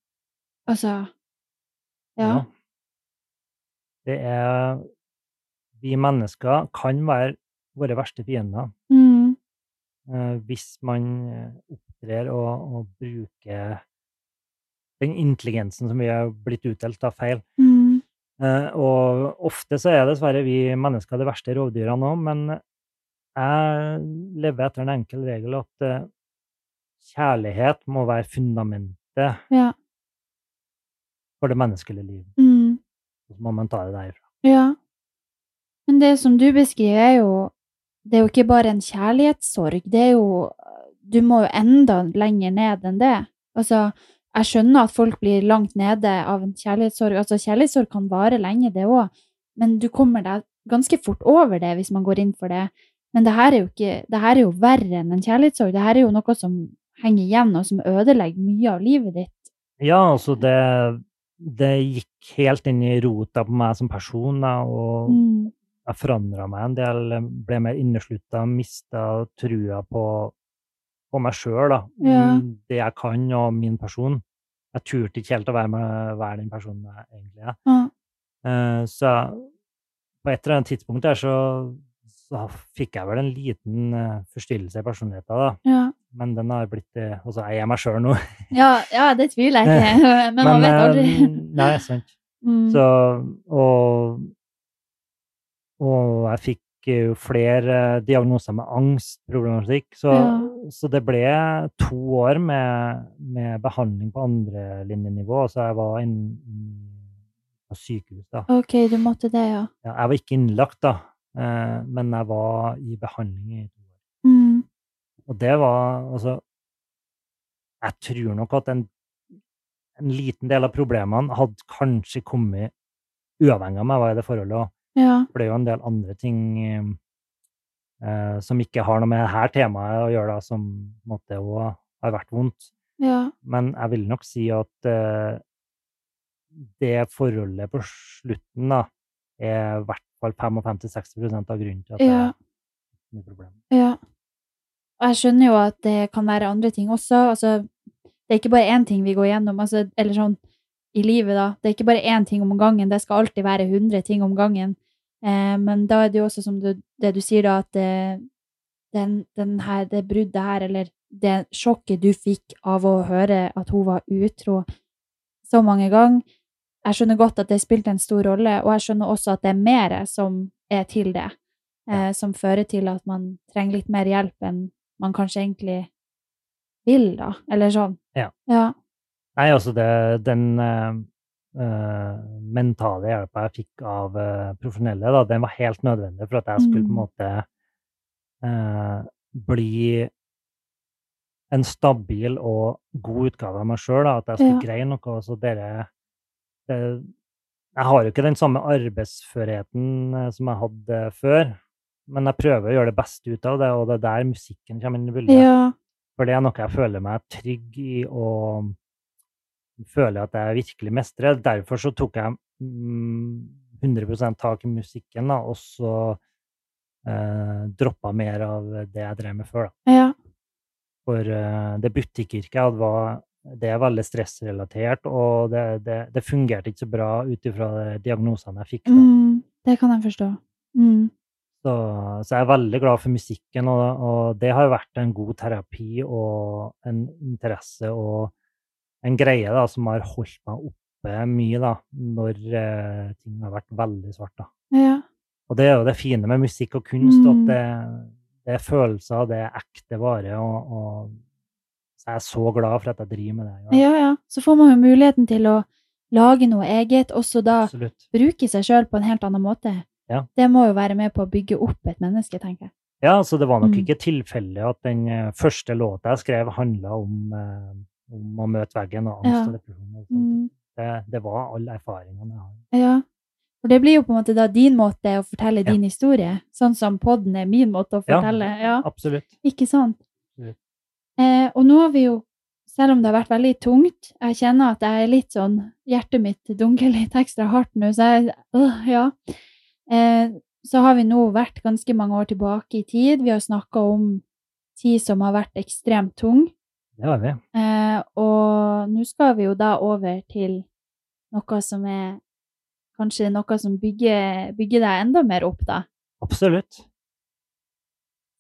Altså Ja.
Det er Vi mennesker kan være våre verste fiender
Mm.
eh, hvis man eh, opptrer og, og bruker den intelligensen som vi har blitt utdelt av feil.
Mm.
Eh, og ofte så er dessverre vi mennesker de verste rovdyrene òg, men jeg lever etter en enkel regel at eh, kjærlighet må være fundamentet
Ja.
for det menneskelige livet.
Mm.
Og så må man ta det derfra.
Ja. Men det som du beskriver, er jo Det er jo ikke bare en kjærlighetssorg. Det er jo Du må jo enda lenger ned enn det. Altså, jeg skjønner at folk blir langt nede av en kjærlighetssorg. Altså, kjærlighetssorg kan vare lenge, det òg, men du kommer deg ganske fort over det hvis man går inn for det. Men det her er jo ikke Det her er jo verre enn en kjærlighetssorg. Det her er jo noe som henger igjen, og som ødelegger mye av livet ditt.
Ja, altså det, det gikk helt inn i rota på meg som person, da, og
Mm.
jeg forandra meg en del. Ble mer inneslutta, mista trua på, på meg sjøl, da.
Ja.
mm, Det jeg kan, og min person. Jeg turte ikke helt å være, med, være den personen jeg egentlig er.
Ja.
Eh, Så jeg- på et eller annet tidspunkt der så, så fikk jeg vel en liten eh, forstyrrelse i personligheten, da.
Ja.
Men den har blitt eh, Altså, jeg er meg sjøl nå.
Ja, ja, det tviler jeg ikke, men man vet aldri.
eh, Nei, sant.
Mm.
Så, og, og jeg fikk jo flere eh, diagnoser med angstproblematikk. Så,
Ja.
så det ble to år med, med behandling på andrelinjenivå. Så jeg var inn, inn på sykehus, da.
Ok, du måtte det, ja.
Ja, Jeg var ikke innlagt, da, eh, men jeg var i behandling i to år.
Mm.
Og det var altså Jeg tror nok at en, en liten del av problemene hadde kanskje kommet uavhengig av meg hva i det forholdet. også.
Ja.
For det er jo en del andre ting eh, eh, som ikke har noe med dette temaet å gjøre, da, som på en måte òg har vært vondt.
Ja.
Men jeg vil nok si at eh, det forholdet på slutten da, er i hvert fall 55-60 av grunnen til at
Ja.
det er mye problem.
Ja. Og jeg skjønner jo at det kan være andre ting også. Altså, det er ikke bare én ting vi går gjennom, altså, eller sånn i livet, da. Det er ikke bare én ting om gangen, det skal alltid være 100 ting om gangen. Eh, men da er det jo også som du, det du sier, da, at eh, den, den her, det bruddet her, eller det sjokket du fikk av å høre at hun var utro så mange ganger Jeg skjønner godt at det spilte en stor rolle, og jeg skjønner også at det er mer som er til det eh, som fører til at man trenger litt mer hjelp enn man kanskje egentlig vil, da. Eller sånn.
Ja.
Ja.
Nei, altså det, den eh, eh, mentale hjelpa jeg fikk av eh, profesjonelle, da, den var helt nødvendig for at jeg skulle på en
Mm.
måte eh, bli en stabil og god utgave av meg sjøl. At jeg skulle
Ja.
greie noe. Så dere det, Jeg har jo ikke den samme arbeidsførheten eh, som jeg hadde før, men jeg prøver å gjøre det beste ut av det, og det er der musikken kommer inn i bildet.
Ja.
For det er noe jeg føler meg trygg i og føler at jeg virkelig mestrer. Derfor så tok jeg mm, 100 tak i musikken, da, og så eh, droppa mer av det jeg drev med før. Da.
Ja.
For eh, det butikkyrket jeg hadde, var, det er veldig stressrelatert, og det, det, det fungerte ikke så bra ut ifra de diagnosene jeg fikk. da.
Mm, det kan jeg forstå. Mm.
Så, så jeg er veldig glad for musikken, og, og det har jo vært en god terapi og en interesse og en greie da, som har holdt meg oppe mye da, når eh, ting har vært veldig svart. Da.
Ja.
Og det er jo det fine med musikk og kunst, at
Mm.
det, det er følelser, det er ekte vare. Og, og så jeg er så glad for at jeg driver med det. jeg gjør.
ja, ja. Så får man jo muligheten til å lage noe eget, også da
Absolutt.
bruke seg sjøl på en helt annen måte.
Ja.
Det må jo være med på å bygge opp et menneske, tenker jeg.
Ja, så det var nok
Mm.
ikke tilfeldig at den eh, første låta jeg skrev, handla om, eh, om å møte veggen og angst
Ja.
og depresjon. og sånt.
Mm.
Det, det var all erfaringene jeg har.
Ja. For det blir jo på en måte da din måte å fortelle
Ja.
din historie, sånn som podden er min måte å
Ja.
fortelle. Ja.
Absolutt.
Ikke sant?
Absolutt.
Eh, og nå har vi jo, selv om det har vært veldig tungt, jeg kjenner at jeg er litt sånn, hjertet mitt dunker litt ekstra hardt nå, så jeg, øh, ja. Eh, så har vi nå vært ganske mange år tilbake i tid. Vi har snakket om tid som har vært ekstremt tung.
Det har vi.
Eh, og nå skal vi jo da over til noe som er, kanskje noe som bygger, bygger deg enda mer opp da.
Absolutt.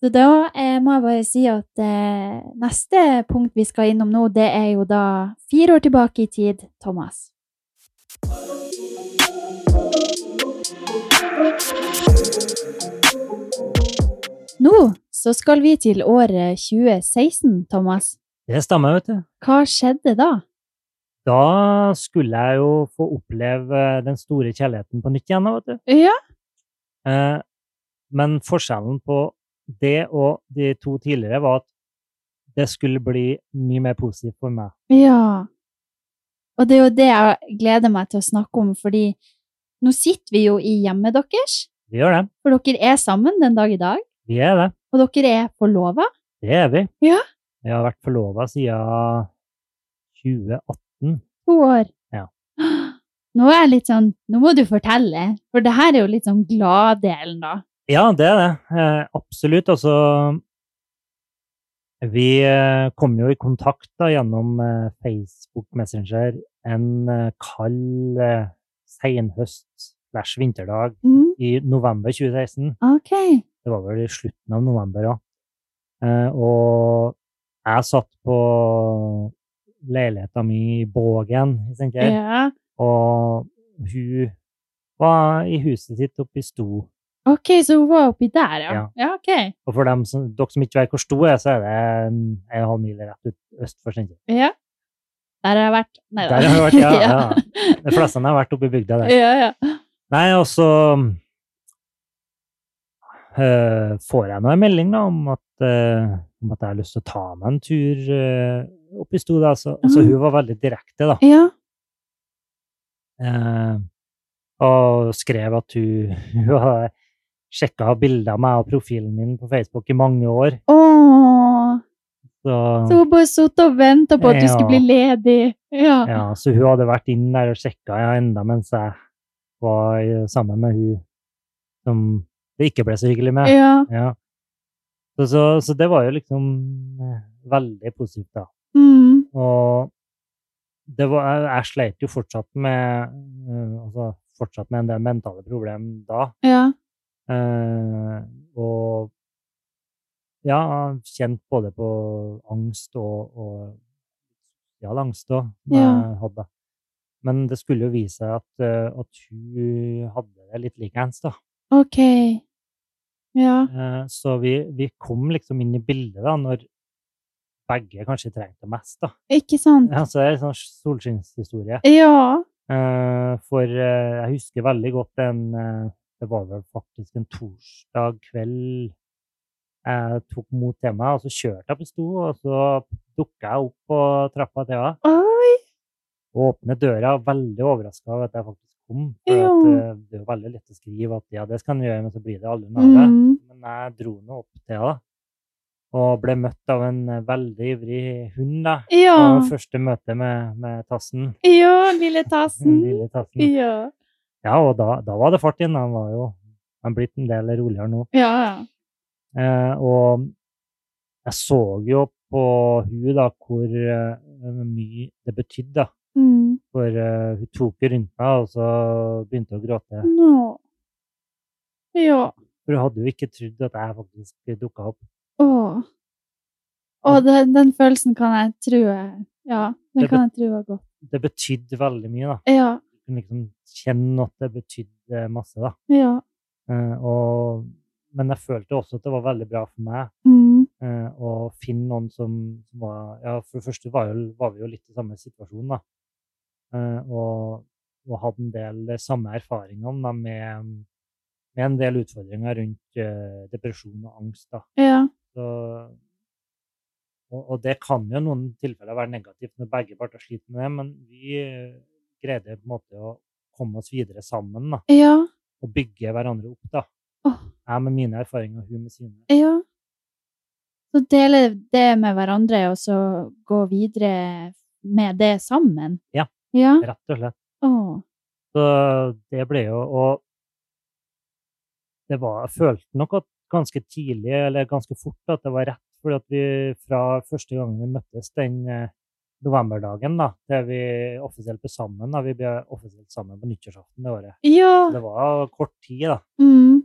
Så da eh, må jeg bare si at eh, neste punkt vi skal innom nå, det er jo da fire år tilbake i tid, Thomas. Nå så skal vi til året 2016, Thomas.
Det stemmer, vet du.
Hva skjedde da?
Da skulle jeg jo få oppleve eh, den store kjærligheten på nytt igjen, da, vet du.
Ja.
Eh, men forskjellen på det og de to tidligere var at det skulle bli mye mer positivt for meg.
Ja. Og det er jo det jeg gleder meg til å snakke om, fordi nå sitter vi jo i hjemmet deres,
Vi gjør det.
for dere er sammen den dag i dag.
Vi er det.
Og dere er forlova?
Det er vi.
Ja.
Vi har vært forlova siden 2018.
To år.
Ja.
Nå er jeg litt sånn Nå må du fortelle, for det her er jo litt sånn gladdelen, da.
Ja, det er det. Eh, absolutt. Altså Vi eh, kom jo i kontakt da, gjennom eh, Facebook Messenger en eh, kald eh, senhøst slash vinterdag
Mm,
i november 2016.
ok.
Det var vel i slutten av november òg. Eh, og jeg satt på leiligheta mi i Bågen i Steinkjer.
Ja.
Og hun var i huset sitt oppe i Sto.
Ok, så hun var oppi der, ja.
Ja.
Ja, ok.
Og for dem som, dere som ikke vet hvor Sto er, så er det en, en og en halv mil rett ut øst for Steinkjer.
Ja. Der har jeg vært. Nei da.
Der har jeg vært, ja, ja. De fleste har vært oppe i bygda der.
ja, ja.
Nei, og så eh, får jeg nå en melding da, om, at, eh, om at jeg har lyst til å ta meg en tur eh, opp i Sto. Da. Så, altså,
Mhm.
hun var veldig direkte, da.
Ja.
Eh, og skrev at hun, hun har sjekka bilder av meg og profilen min på Facebook i mange år.
Åh.
Så,
Så hun bare satt og venta på at du
Ja.
skulle bli ledig. Ja.
Ja, så hun hadde vært inn der og sjekka ja, enda mens jeg var i- sammen med hun som det ikke ble så hyggelig med.
ja.
Ja. Så, så, så det var jo liksom eh, veldig positivt, da.
Mm.
Og det var, jeg, jeg sleit jo fortsatt med, eh, altså, fortsatt med en del mentale problemer da.
Ja.
Eh, og ja, kjent både på angst og, og sosial angst òg.
Ja.
hadde. Men det skulle jo vise seg at, eh, at hun hadde det litt likeens, da.
Ok. Ja.
Eh, så vi, vi kom liksom inn i bildet da, når begge kanskje trengte det mest, da.
Ikke sant?
Ja, så det er en sånn solskinnshistorie.
Ja.
Eh, for eh, jeg husker veldig godt en eh, Det var vel faktisk en torsdag kveld jeg tok mot til meg, og så kjørte jeg på sto, og så dukka jeg opp på trappa til henne
Oi.
og åpnet døra, veldig overraska over at jeg faktisk kom. For
Ja.
at, eh, det er jo veldig lett å skrive at ja, det skal en gjøre, men så blir det aldri noe av det.
Mm.
Men jeg dro nå opp til henne og ble møtt av en eh, veldig ivrig hund. da. Det var
Ja.
jo første møte med, med Tassen.
Ja, lille
Den
tassen.
lille Tassen.
Ja.
Ja, og da, da var det fart igjen. Han var jo han er blitt en del roligere nå.
Ja, ja.
Eh, og jeg så jo på hun da hvor eh, mye det betydde. da.
Mm.
For eh, hun tok jo rundt meg, og så begynte hun å gråte.
Nå. Ja.
For hun hadde jo ikke trodd at jeg faktisk dukka opp.
Åh. Åh, den, den følelsen kan jeg tro jeg Ja, den
Det
kan jeg tro var godt.
Det betydde veldig mye. da.
Ja.
Jeg kunne liksom kjenne at det betydde masse. da.
Ja.
Eh, og, men jeg følte også at det var veldig bra for meg
Mm.
eh, og finne noen som, som var Ja, for det første var, jo, var vi jo litt i samme situasjon, da. Eh, og, og hadde en del de samme erfaringene da, med, med en del utfordringer rundt eh, depresjon og angst. da.
Ja.
Så, og, og det kan jo i noen tilfeller være negativt når begge parter sliter med det, men vi eh, greide på en måte å komme oss videre sammen da,
Ja.
og bygge hverandre opp. da.
Åh.
Jeg med mine erfaringer, hun med sine.
Ja. Så dele det med hverandre, og så gå videre med det sammen.
Ja.
Ja.
Rett og slett.
Åh.
Så det ble jo Og det var, jeg følte nok at ganske tidlig, eller ganske fort, at det var rett. fordi at vi fra første gangen vi møttes den eh, novemberdagen, da, der vi offisielt ble sammen da, Vi ble offisielt sammen på nyttårsaften det året. Så
Ja.
Det var kort tid, da.
Mm.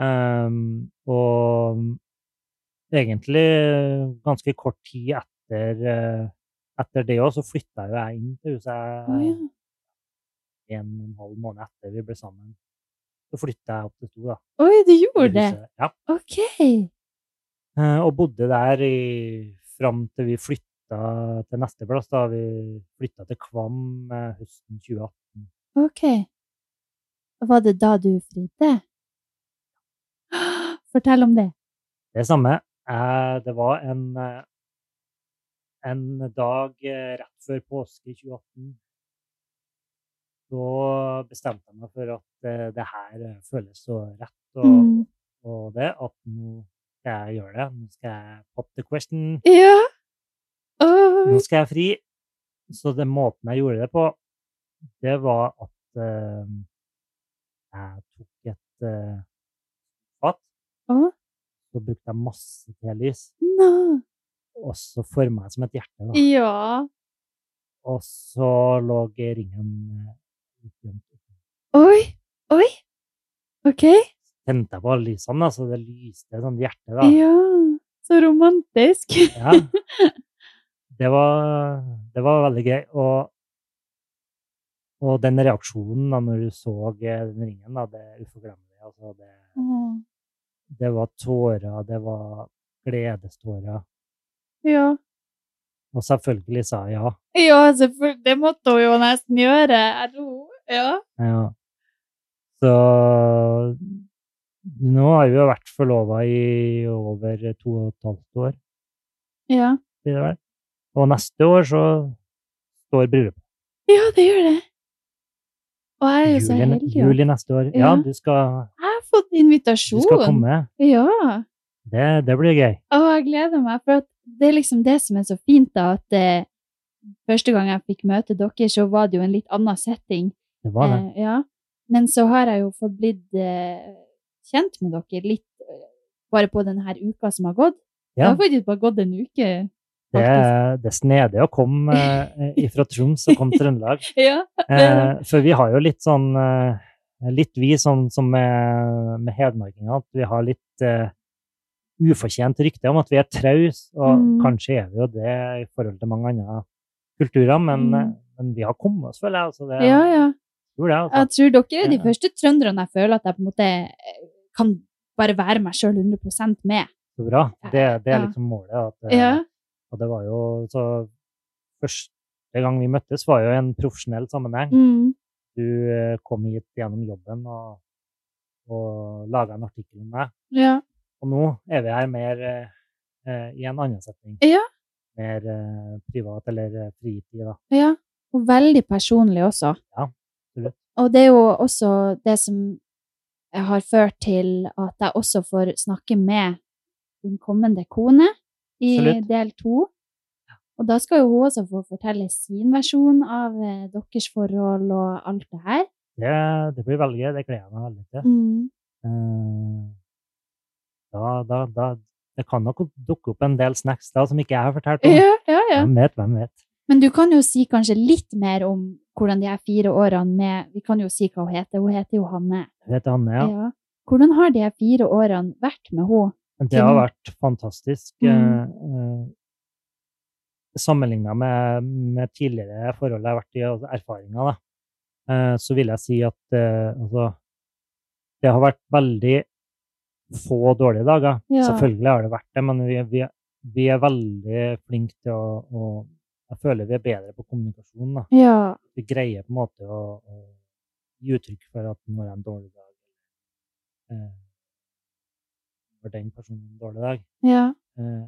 Ehm, og egentlig ganske kort tid etter, eh, etter det òg, så flytta jo jeg inn til huset.
Å, ja.
en og en halv måned etter vi ble sammen. Så flytta jeg opp til Sto, da.
Oi, du
i
gjorde det?
huset. Ja.
OK.
Eh, Og bodde der i, fram til vi flytta til neste plass. Da vi flytta til Kvam eh, høsten 2018.
OK. Var det da du fridde? Fortell om det.
Det samme. Eh, Det var en, eh, en dag eh, rett før påske i 2018. Så bestemte jeg meg for at eh, det her eh, føles så rett og,
Mm.
og det, at nå skal jeg gjøre det. Nå skal jeg pop the question.
Ja. Åh.
Nå skal jeg fri. Så den måten jeg gjorde det på, det var at eh, jeg tok et eh, fat,
Åh.
så brukte jeg masse telys,
Nå.
og så forma jeg som et hjerte. Da.
Ja.
Og så lå ringen eh, litt gjemt.
Oi. Oi. OK.
Tente jeg på alle lysene, da, så det lyste et sånt hjerte.
Ja.
da.
Så romantisk.
Ja. Det var, det var veldig gøy. Og, og den reaksjonen da når du så eh, den ringen, da, det er uforglemmelig. Altså, det,
Åh.
det var tårer, det var gledestårer.
Ja.
Og selvfølgelig sa jeg ja.
Ja, selvfølgelig. Det måtte hun jo nesten gjøre. Hallo. Ja.
ja. Så nå har vi jo vært forlova i over to og et halvt år.
Ja.
blir det vel. Og neste år så står bryllupet.
Ja, det gjør det. Og jeg er jo så
Juli,
heldig. ja.
juli neste år. Ja,
Ja.
du skal,
Jeg har fått
du
invitasjon.
skal komme.
Ja.
Det, det blir gøy.
Og jeg gleder meg, for at det er liksom det som er så fint, da, at eh, Første gang jeg fikk møte dere, så var det jo en litt annen setting.
Det var det.
Eh, ja. Men så har jeg jo fått blitt eh, kjent med dere litt eh, bare på denne uka som har gått. Det
Ja,
har faktisk bare gått en uke.
det, det er snedig å komme eh, fra Troms og komme til Trøndelag.
Ja.
Eh, for vi har jo litt sånn eh, Litt vi som, som med, med hedmarkinger, at vi har litt eh, ufortjent rykte om at vi er trause, og
Mm.
kanskje er vi jo det i forhold til mange andre kulturer, men,
Mm.
eh, men vi har kommet oss, føler jeg. Altså, det,
ja, ja.
tror det, altså.
Jeg tror dere er de
Ja.
første trønderne jeg føler at jeg på en måte eh, kan bare være meg sjøl 100 med.
Så bra. Det, det er
Ja.
liksom målet. At, eh,
Ja.
Og det var jo så Første gang vi møttes, var jo i en profesjonell sammenheng.
Mm.
Du eh, kom hit gjennom jobben og, og laga en artikkel om meg.
Ja.
Og nå er vi her mer eh, eh, i en annen setning.
Ja.
Mer eh, privat eller eh, fritid, da.
Ja, og veldig personlig også.
Ja, absolutt.
Og det er jo også det som har ført til at jeg også får snakke med din kommende kone i
Absolutt.
del to. Og da skal jo hun også få fortelle sin versjon av eh, deres forhold og alt det her.
Det, det blir veldig gøy. Det gleder jeg meg veldig til. Eh, da, da, da, det kan nok dukke opp en del snacks da som ikke jeg har fortalt om.
Ja, ja, ja.
Hvem vet, hvem vet.
Men du kan jo si kanskje litt mer om hvordan de her fire årene med Vi kan jo si hva hun heter. Hun heter Johanne.
Jeg vet Hanne, ja.
Ja. Hvordan har de her fire årene vært med henne?
Men Det har
Ting.
vært fantastisk.
Mm.
Mm. Sammenligna med, med tidligere forhold jeg har vært i, altså erfaringer, da, eh, så vil jeg si at eh, altså, det har vært veldig få dårlige dager.
Ja.
Selvfølgelig har det vært det, men vi, vi, vi er veldig flinke til å, å Jeg føler vi er bedre på kommunikasjon. da.
Ja.
Vi greier på en måte å, å gi uttrykk for at når det er en dårlig dag, eh, når den personen har en dårlig dag
ja.
Eh,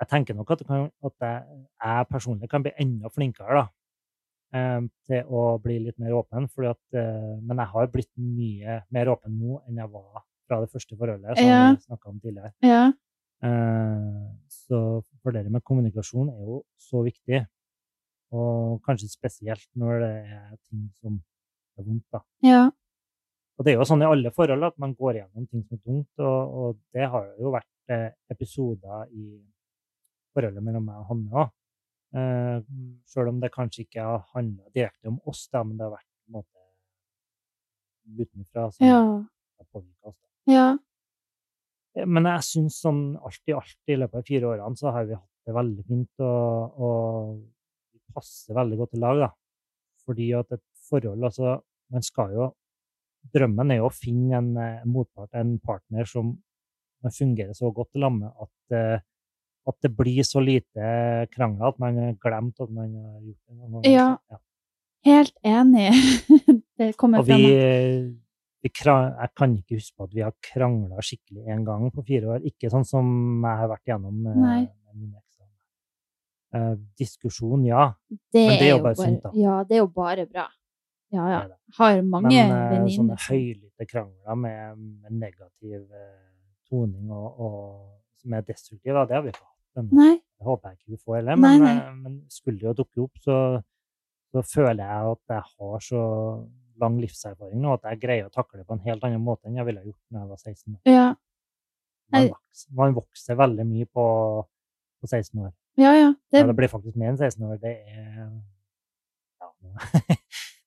jeg tenker nok at, det kan, at jeg, jeg personlig kan bli enda flinkere da, eh, til å bli litt mer åpen. Fordi at, eh, men jeg har blitt mye mer åpen nå enn jeg var fra det første forholdet. som
Ja.
vi snakket om tidligere.
Ja.
Eh, så for dere med kommunikasjon er jo så viktig. Og kanskje spesielt når det er ting som er vondt. da.
Ja.
Og det er jo sånn i alle forhold at man går gjennom ting som er tungt, og, og det har jo vært eh, episoder i forholdet mellom meg og Hanne òg. Eh, Sjøl om det kanskje ikke har handla direkte om oss, da, men det har vært på en måte utenfra som
Ja.
har påvirka oss.
Ja.
Eh, Men jeg syns sånn alt i alt i løpet av de fire årene så har vi hatt det veldig fint, og, og vi passer veldig godt i lag, da. Fordi at et forhold altså, Man skal jo Drømmen er jo å finne en eh, motpart, en partner, som eh, fungerer så godt i lag med at, eh, at det blir så lite krangler at man har glemt at man har gjort det. noen ganger.
Ja.
Ja.
Helt enig. det kommer
Og vi,
fram.
vi kra- Jeg kan ikke huske på at vi har krangla skikkelig én gang på fire år. Ikke sånn som jeg har vært gjennom eh,
Nei.
med mine ekser. Eh, diskusjon, ja.
Det,
men det er jo bare
bare
sunt, da.
Ja, det er jo bare bra. Ja, ja.
Det er det.
Har mange
Men eh, sånne
venninner. som-
høylytte krangler med, med negativ eh, toning og, og som er destruktiv, da, det har vi ikke hatt. ennå.
Nei.
Det håper jeg ikke vi får heller,
Nei,
men,
nei.
eh, men skulle det jo dukke opp, så, så føler jeg at jeg har så lang livserfaring nå at jeg greier å takle det på en helt annen måte enn jeg ville ha gjort da jeg var 16 år.
Ja.
Man
Nei.
vokser, man vokser veldig mye på, på 16 år.
ja, ja.
Det,
Det,
ja, det blir faktisk mer enn 16 år. Det er ja,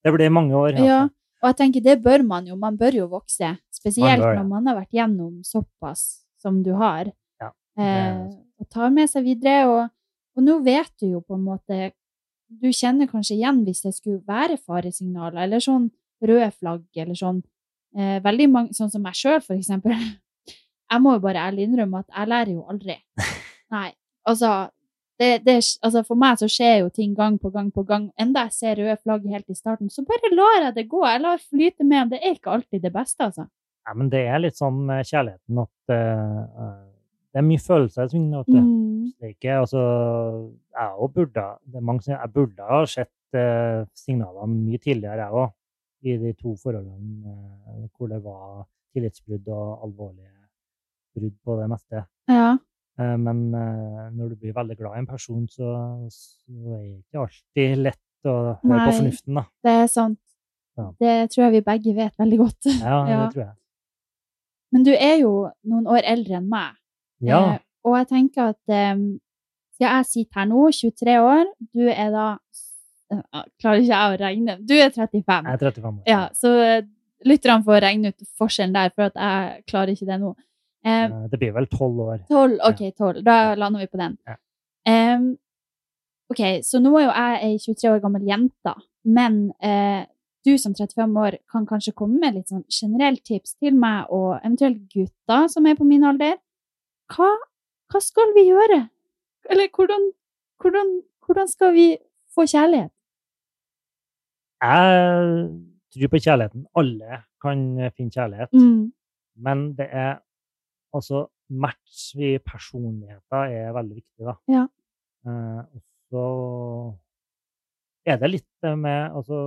Det blir mange år.
ja. Og jeg tenker, det bør man jo. Man bør jo vokse. Spesielt
bør det.
når man har vært gjennom såpass som du har.
Ja,
Eh,
det altså
og tar med seg videre. Og, og nå vet du jo på en måte Du kjenner kanskje igjen hvis det skulle være faresignaler, eller sånn røde flagg, eller sånn. Eh, veldig mange, sånn som meg sjøl, for eksempel. Jeg må jo bare ærlig innrømme at jeg lærer jo aldri. Nei. Altså, det, det, altså, for meg så skjer jo ting gang på gang på gang. Enda jeg ser røde flagg helt i starten, så bare lar jeg det gå. Jeg lar flyte med. Det er ikke alltid det beste, altså.
Nei, men det er litt sånn med kjærligheten at eh, eh, det er mye følelser i sving. vet du.
Mm.
Det er ikke, altså, jeg også burde, det er mange som, jeg burde ha sett eh, signalene mye tidligere, jeg òg, i de to forholdene eh, hvor det var tillitsbrudd og alvorlige brudd på det meste.
Ja.
Eh, Men eh, når du blir veldig glad i en person, så, så er det ikke alltid lett å høre på
Nei.
fornuften, da.
Det er sant.
Ja.
Det tror jeg vi begge vet veldig godt.
Ja,
Ja.
det tror jeg.
Men du er jo noen år eldre enn meg.
Ja,
Eh, og jeg tenker at eh, siden jeg sitter her nå, 23 år, du er da eh, Klarer ikke jeg å regne. Du er 35.
jeg er 35 år.
Ja, så eh, lytterne får regne ut forskjellen der, for at jeg klarer ikke det nå. Eh,
Eh, Det blir vel tolv år.
12, ok, 12. Da lander vi på den.
Ja.
Em, ok, så nå er jo jeg ei 23 år gammel jente, men eh, du som 35 år kan kanskje komme med litt sånn generelt tips til meg, og eventuelt gutter som er på min alder. Hva, hva skal vi gjøre? Eller hvordan, hvordan, hvordan skal vi få kjærlighet?
Jeg tror på kjærligheten. Alle kan eh, finne kjærlighet.
Mm,
Men det er altså Match i personligheter er veldig viktig, da.
Ja.
Eh, og så er det litt det med altså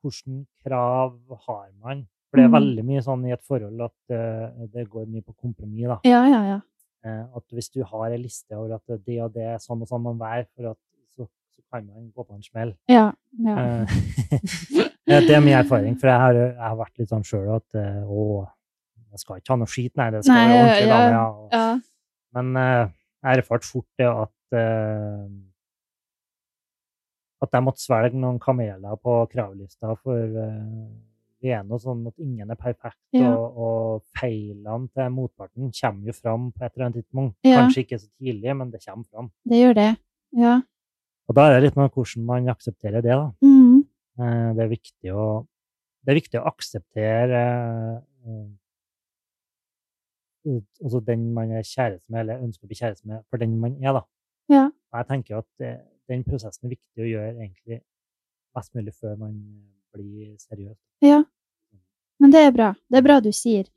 Hvilke krav har man? For det er
Mhm.
veldig mye sånn i et forhold at eh, det går mye på kompromiss, da.
ja, ja, ja.
Eh, at hvis du har ei liste over at det og det er sånn og sånn man være, for at så, så kan man gå på en smell.
Ja, ja.
Eh, det er min erfaring, for jeg har, jeg har vært litt sånn sjøl at eh, å, jeg skal ikke ha noe skit, nei, det skal
Nei,
være ordentlig
ja,
dame. Ja. og-
ja.
Men eh, jeg erfarte fort det at eh, at jeg måtte svelge noen kameler på kravlista, for eh, det er noe sånn at ingen er perfekt,
Ja.
og, og feilene til motparten kommer jo fram på et eller annet tidspunkt.
Ja.
Kanskje ikke så tidlig, men det kommer fram.
Det gjør det. Ja.
Og da er det litt med hvordan man aksepterer det, da.
Mm,
Eh, Det er viktig å, det er viktig å akseptere eh, eh, ut- altså den man er kjæreste med, eller ønsker å bli kjæreste med, for den man er. da.
Ja.
Og Jeg tenker at eh, den prosessen er viktig å gjøre egentlig mest mulig før man eh, blir seriøs.
ja. Men det er bra. Det er bra du sier.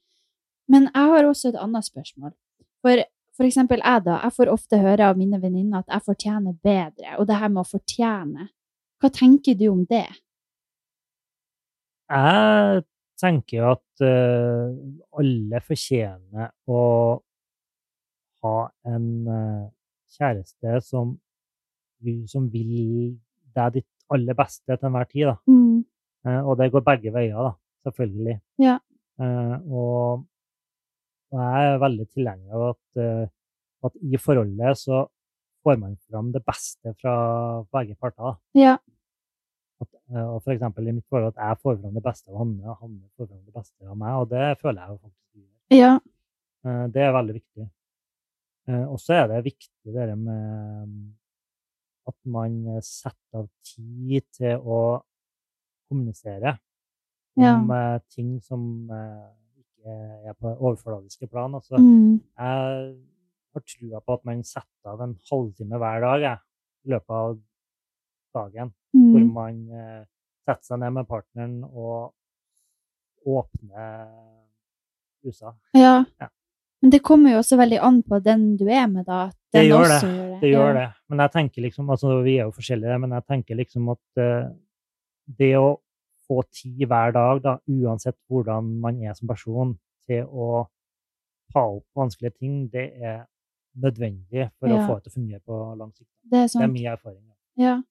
Men jeg har også et annet spørsmål. For, for eksempel jeg, da. Jeg får ofte høre av mine venninner at jeg fortjener bedre, og det her med å fortjene. Hva tenker du om det?
Jeg tenker jo at eh, alle fortjener å ha en eh, kjæreste som, som vil deg ditt aller beste til enhver tid. da.
Mm,
Eh, og det går begge veier, da, selvfølgelig.
Ja.
Eh, og, og jeg er veldig tilhenger av at, eh, at i forholdet så får man fram det beste fra begge parter. da.
ja.
At, eh, og for eksempel i mitt forhold at jeg får fram det beste av Hanne, og Hanne får fram det beste av meg, og det føler jeg jo faktisk gjør.
Ja.
Eh, Det er veldig viktig. Eh, Og så er det viktig det der med mm, at man eh, setter av tid til å kommunisere
Ja.
om eh, ting som eh, ikke er på det overfladiske plan. Altså,
Mm,
jeg har trua på at man setter av en halvtime hver dag jeg, i løpet av dagen hvor
mm,
man eh, setter seg ned med partneren og åpner husa.
ja.
Ja.
Men det kommer jo også veldig an på den du er med, da. at
Det
den
gjør
også gjør det.
Det gjør
ja.
det. Men jeg tenker liksom, altså vi er jo forskjellige, men jeg tenker liksom at eh, det å få tid hver dag, da, uansett hvordan man er som person, til å ta opp vanskelige ting, det er nødvendig for å
Ja.
få det til å fungere på lang sikt.
Det er sånn.
Det er
sant.
min erfaring.
Ja.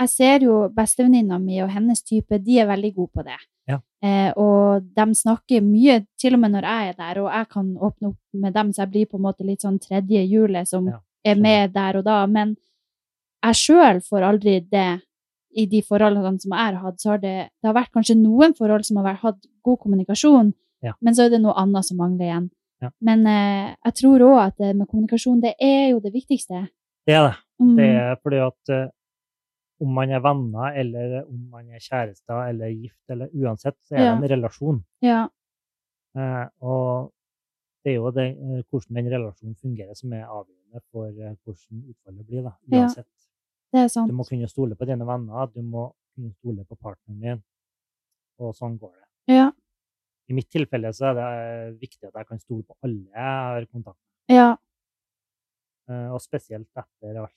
Jeg ser jo bestevenninna mi og hennes type, de er veldig gode på det.
Ja.
Eh, og de snakker mye, til og med når jeg er der, og jeg kan åpne opp med dem, så jeg blir på en måte litt sånn tredje hjulet som
Ja,
er med der og da. Men jeg sjøl får aldri det i de forholdene som jeg har hatt. Så har det, det har vært kanskje noen forhold som har vært, hatt god kommunikasjon,
Ja.
men så er det noe annet som mangler igjen.
Ja.
Men eh, jeg tror òg at det med kommunikasjon, det er jo det viktigste.
Det er det.
Mm.
Det er fordi at eh, om man er venner, eller om man er kjærester, eller gift, eller uansett, så er
Ja.
det en relasjon.
Ja.
Eh, og det er jo det, eh, hvordan den relasjonen fungerer som er avgjørende for eh, hvordan utfallet blir. da,
Ja.
uansett.
Det er
Du
sant.
må kunne stole på dine venner, du må kunne stole på partneren din, og sånn går det.
Ja.
I mitt tilfelle så er det eh, viktig at jeg kan stole på alle jeg har kontakt med,
ja.
eh, og spesielt etter alt,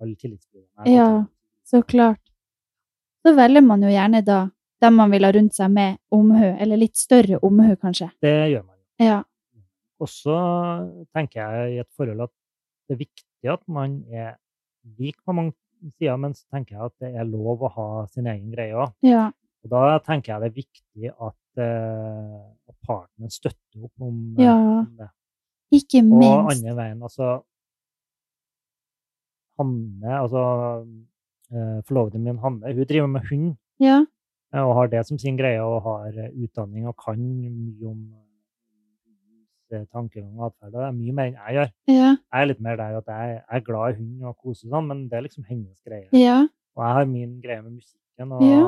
all tillitsbruddene.
Ja, så klart. Så velger man jo gjerne da dem man vil ha rundt seg med omhu, eller litt større omhu, kanskje.
Det gjør man jo.
Ja.
Og så tenker jeg i et forhold at det er viktig at man er lik på mange sider, men så tenker jeg at det er lov å ha sin egen greie òg.
Ja.
Og da tenker jeg det er viktig at, eh, at partene støtter opp om, eh,
Ja.
om det.
Ikke
Og
minst.
andre veien, altså Hanne, altså eh, forloveden min Hanne, hun driver med hund
Ja.
eh, og har det som sin greie og har eh, utdanning og kan mye om eh, tankegang og atferd. og Det er mye mer enn jeg gjør.
Ja.
Jeg er litt mer der at jeg jeg er glad i hund og koser sånn, men det er liksom hennes greie.
Ja.
Og jeg har min greie med musikken, og,
Ja.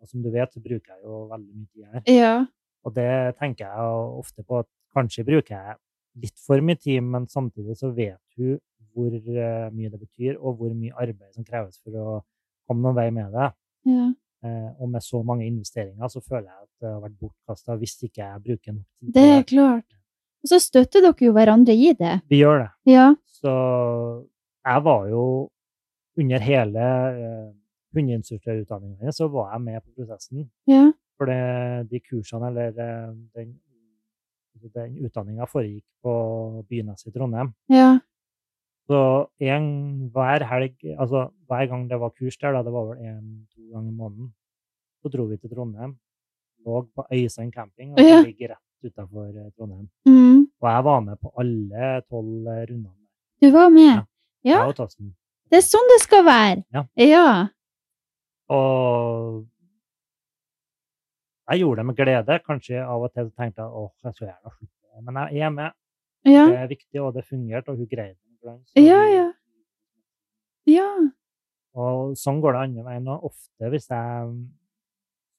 og som du vet, så bruker jeg jo veldig mye tid her.
Ja.
Og det tenker jeg jo ofte på at kanskje bruker jeg litt for mye tid, men samtidig så vet hun hvor eh, mye det betyr, og hvor mye arbeid som kreves for å komme noen vei med det.
Ja.
Eh, og med så mange investeringer så føler jeg at det har vært bortkasta hvis ikke jeg bruker nok tid. på
Det er klart. Og så støtter dere jo hverandre i det.
Vi gjør det.
Ja.
Så jeg var jo under hele eh, hundeinstruktørutdanningen min, så var jeg med på prosessen.
Ja.
For det, de kursene eller eh, den, altså den utdanninga foregikk på Bynes i Trondheim.
Ja.
Så en, hver helg, altså hver gang det var kurs der, da, det var vel én-to ganger i måneden, så dro vi til Trondheim. Lå på Øysand camping, og
Ja.
det ligger rett utafor Trondheim.
Mm.
Og jeg var med på alle tolv eh, rundene.
Du var med.
Ja.
Ja.
Jeg og Tassen.
Det er sånn det skal være.
Ja.
Ja.
Og jeg gjorde det med glede. Kanskje av og til så tenkte jeg åh, jeg skulle gjerne slutte, men jeg er med.
Ja.
Det er viktig, og det fungerte, og hun greide det. blant annet. Så
Ja,
hun-
ja. Ja.
Og sånn går det andre veien. Og ofte hvis jeg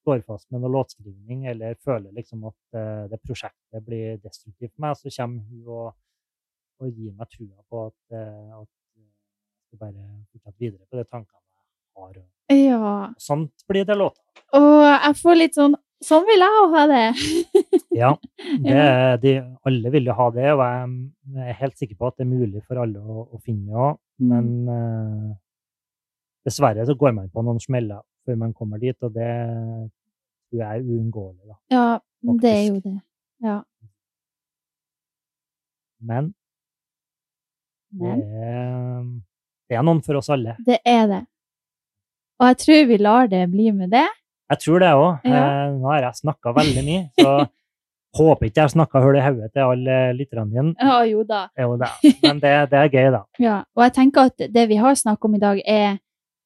står fast med noe låtskrivning, eller føler liksom at eh, det prosjektet blir destruktivt for meg, så kommer hun og, og gir meg trua på at, eh, at jeg skal bare fortsette videre på de tankene jeg har. Og
Ja.
sånt blir det låter.
Og jeg får litt sånn Sånn vil jeg òg ha det.
Ja, det, er- de, alle vil jo ha det, og jeg er helt sikker på at det er mulig for alle å, å finne det òg. Men
Mm.
eh, dessverre så går man på noen smeller før man kommer dit, og det tror jeg er uunngåelig. da.
Ja, det er
Faktisk.
jo det. Ja.
Men,
Men
Det, er, det er noen for oss alle.
det er det. Og jeg tror vi lar det bli med det.
Jeg tror det òg.
Ja.
nå har jeg snakka veldig mye, så håper ikke jeg snakka hull i hodet til alle lytterne dine.
Ja, jo da.
Det er jo det. Men det, det er gøy, da.
Ja, og jeg tenker at det vi har snakket om i dag, er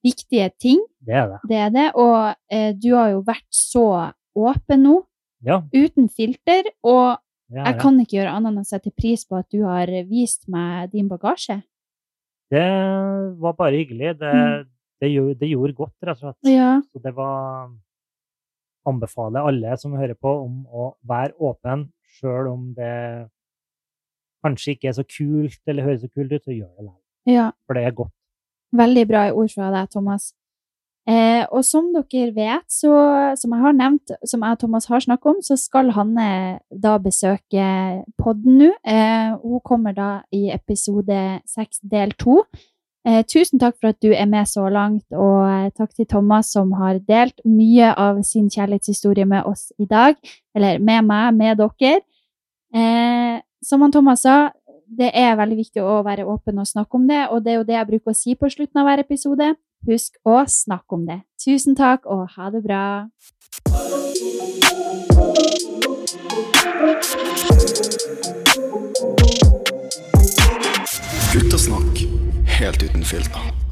viktige ting.
Det er det.
Det er det. Og eh, du har jo vært så åpen nå,
Ja,
uten filter. Og
det, er
jeg
det.
kan ikke gjøre annet enn å sette pris på at du har vist meg din bagasje.
det var bare hyggelig. Det,
Mm.
det, gjorde, det gjorde godt, rett og slett.
Ja.
Så det var anbefaler alle som hører på, om å være åpen, sjøl om det kanskje ikke er så kult eller høres så kult ut, så gjør det likevel.
ja.
For det er godt.
Veldig bra ord fra deg, Thomas. Eh, og som dere vet, så, som jeg har nevnt, som jeg og Thomas har snakket om, så skal Hanne da besøke podden nå. Eh, hun kommer da i episode 6 del 2. Eh, tusen takk for at du er med så langt, og eh, takk til Thomas som har delt mye av sin kjærlighetshistorie med oss i dag, eller med meg, med dere. Eh, som han Thomas sa, det er veldig viktig å være åpen og snakke om det, og det er jo det jeg bruker å si på slutten av hver episode. Husk å snakke om det. Tusen takk, og ha det bra.
Guttasnakk. Helt uten filter.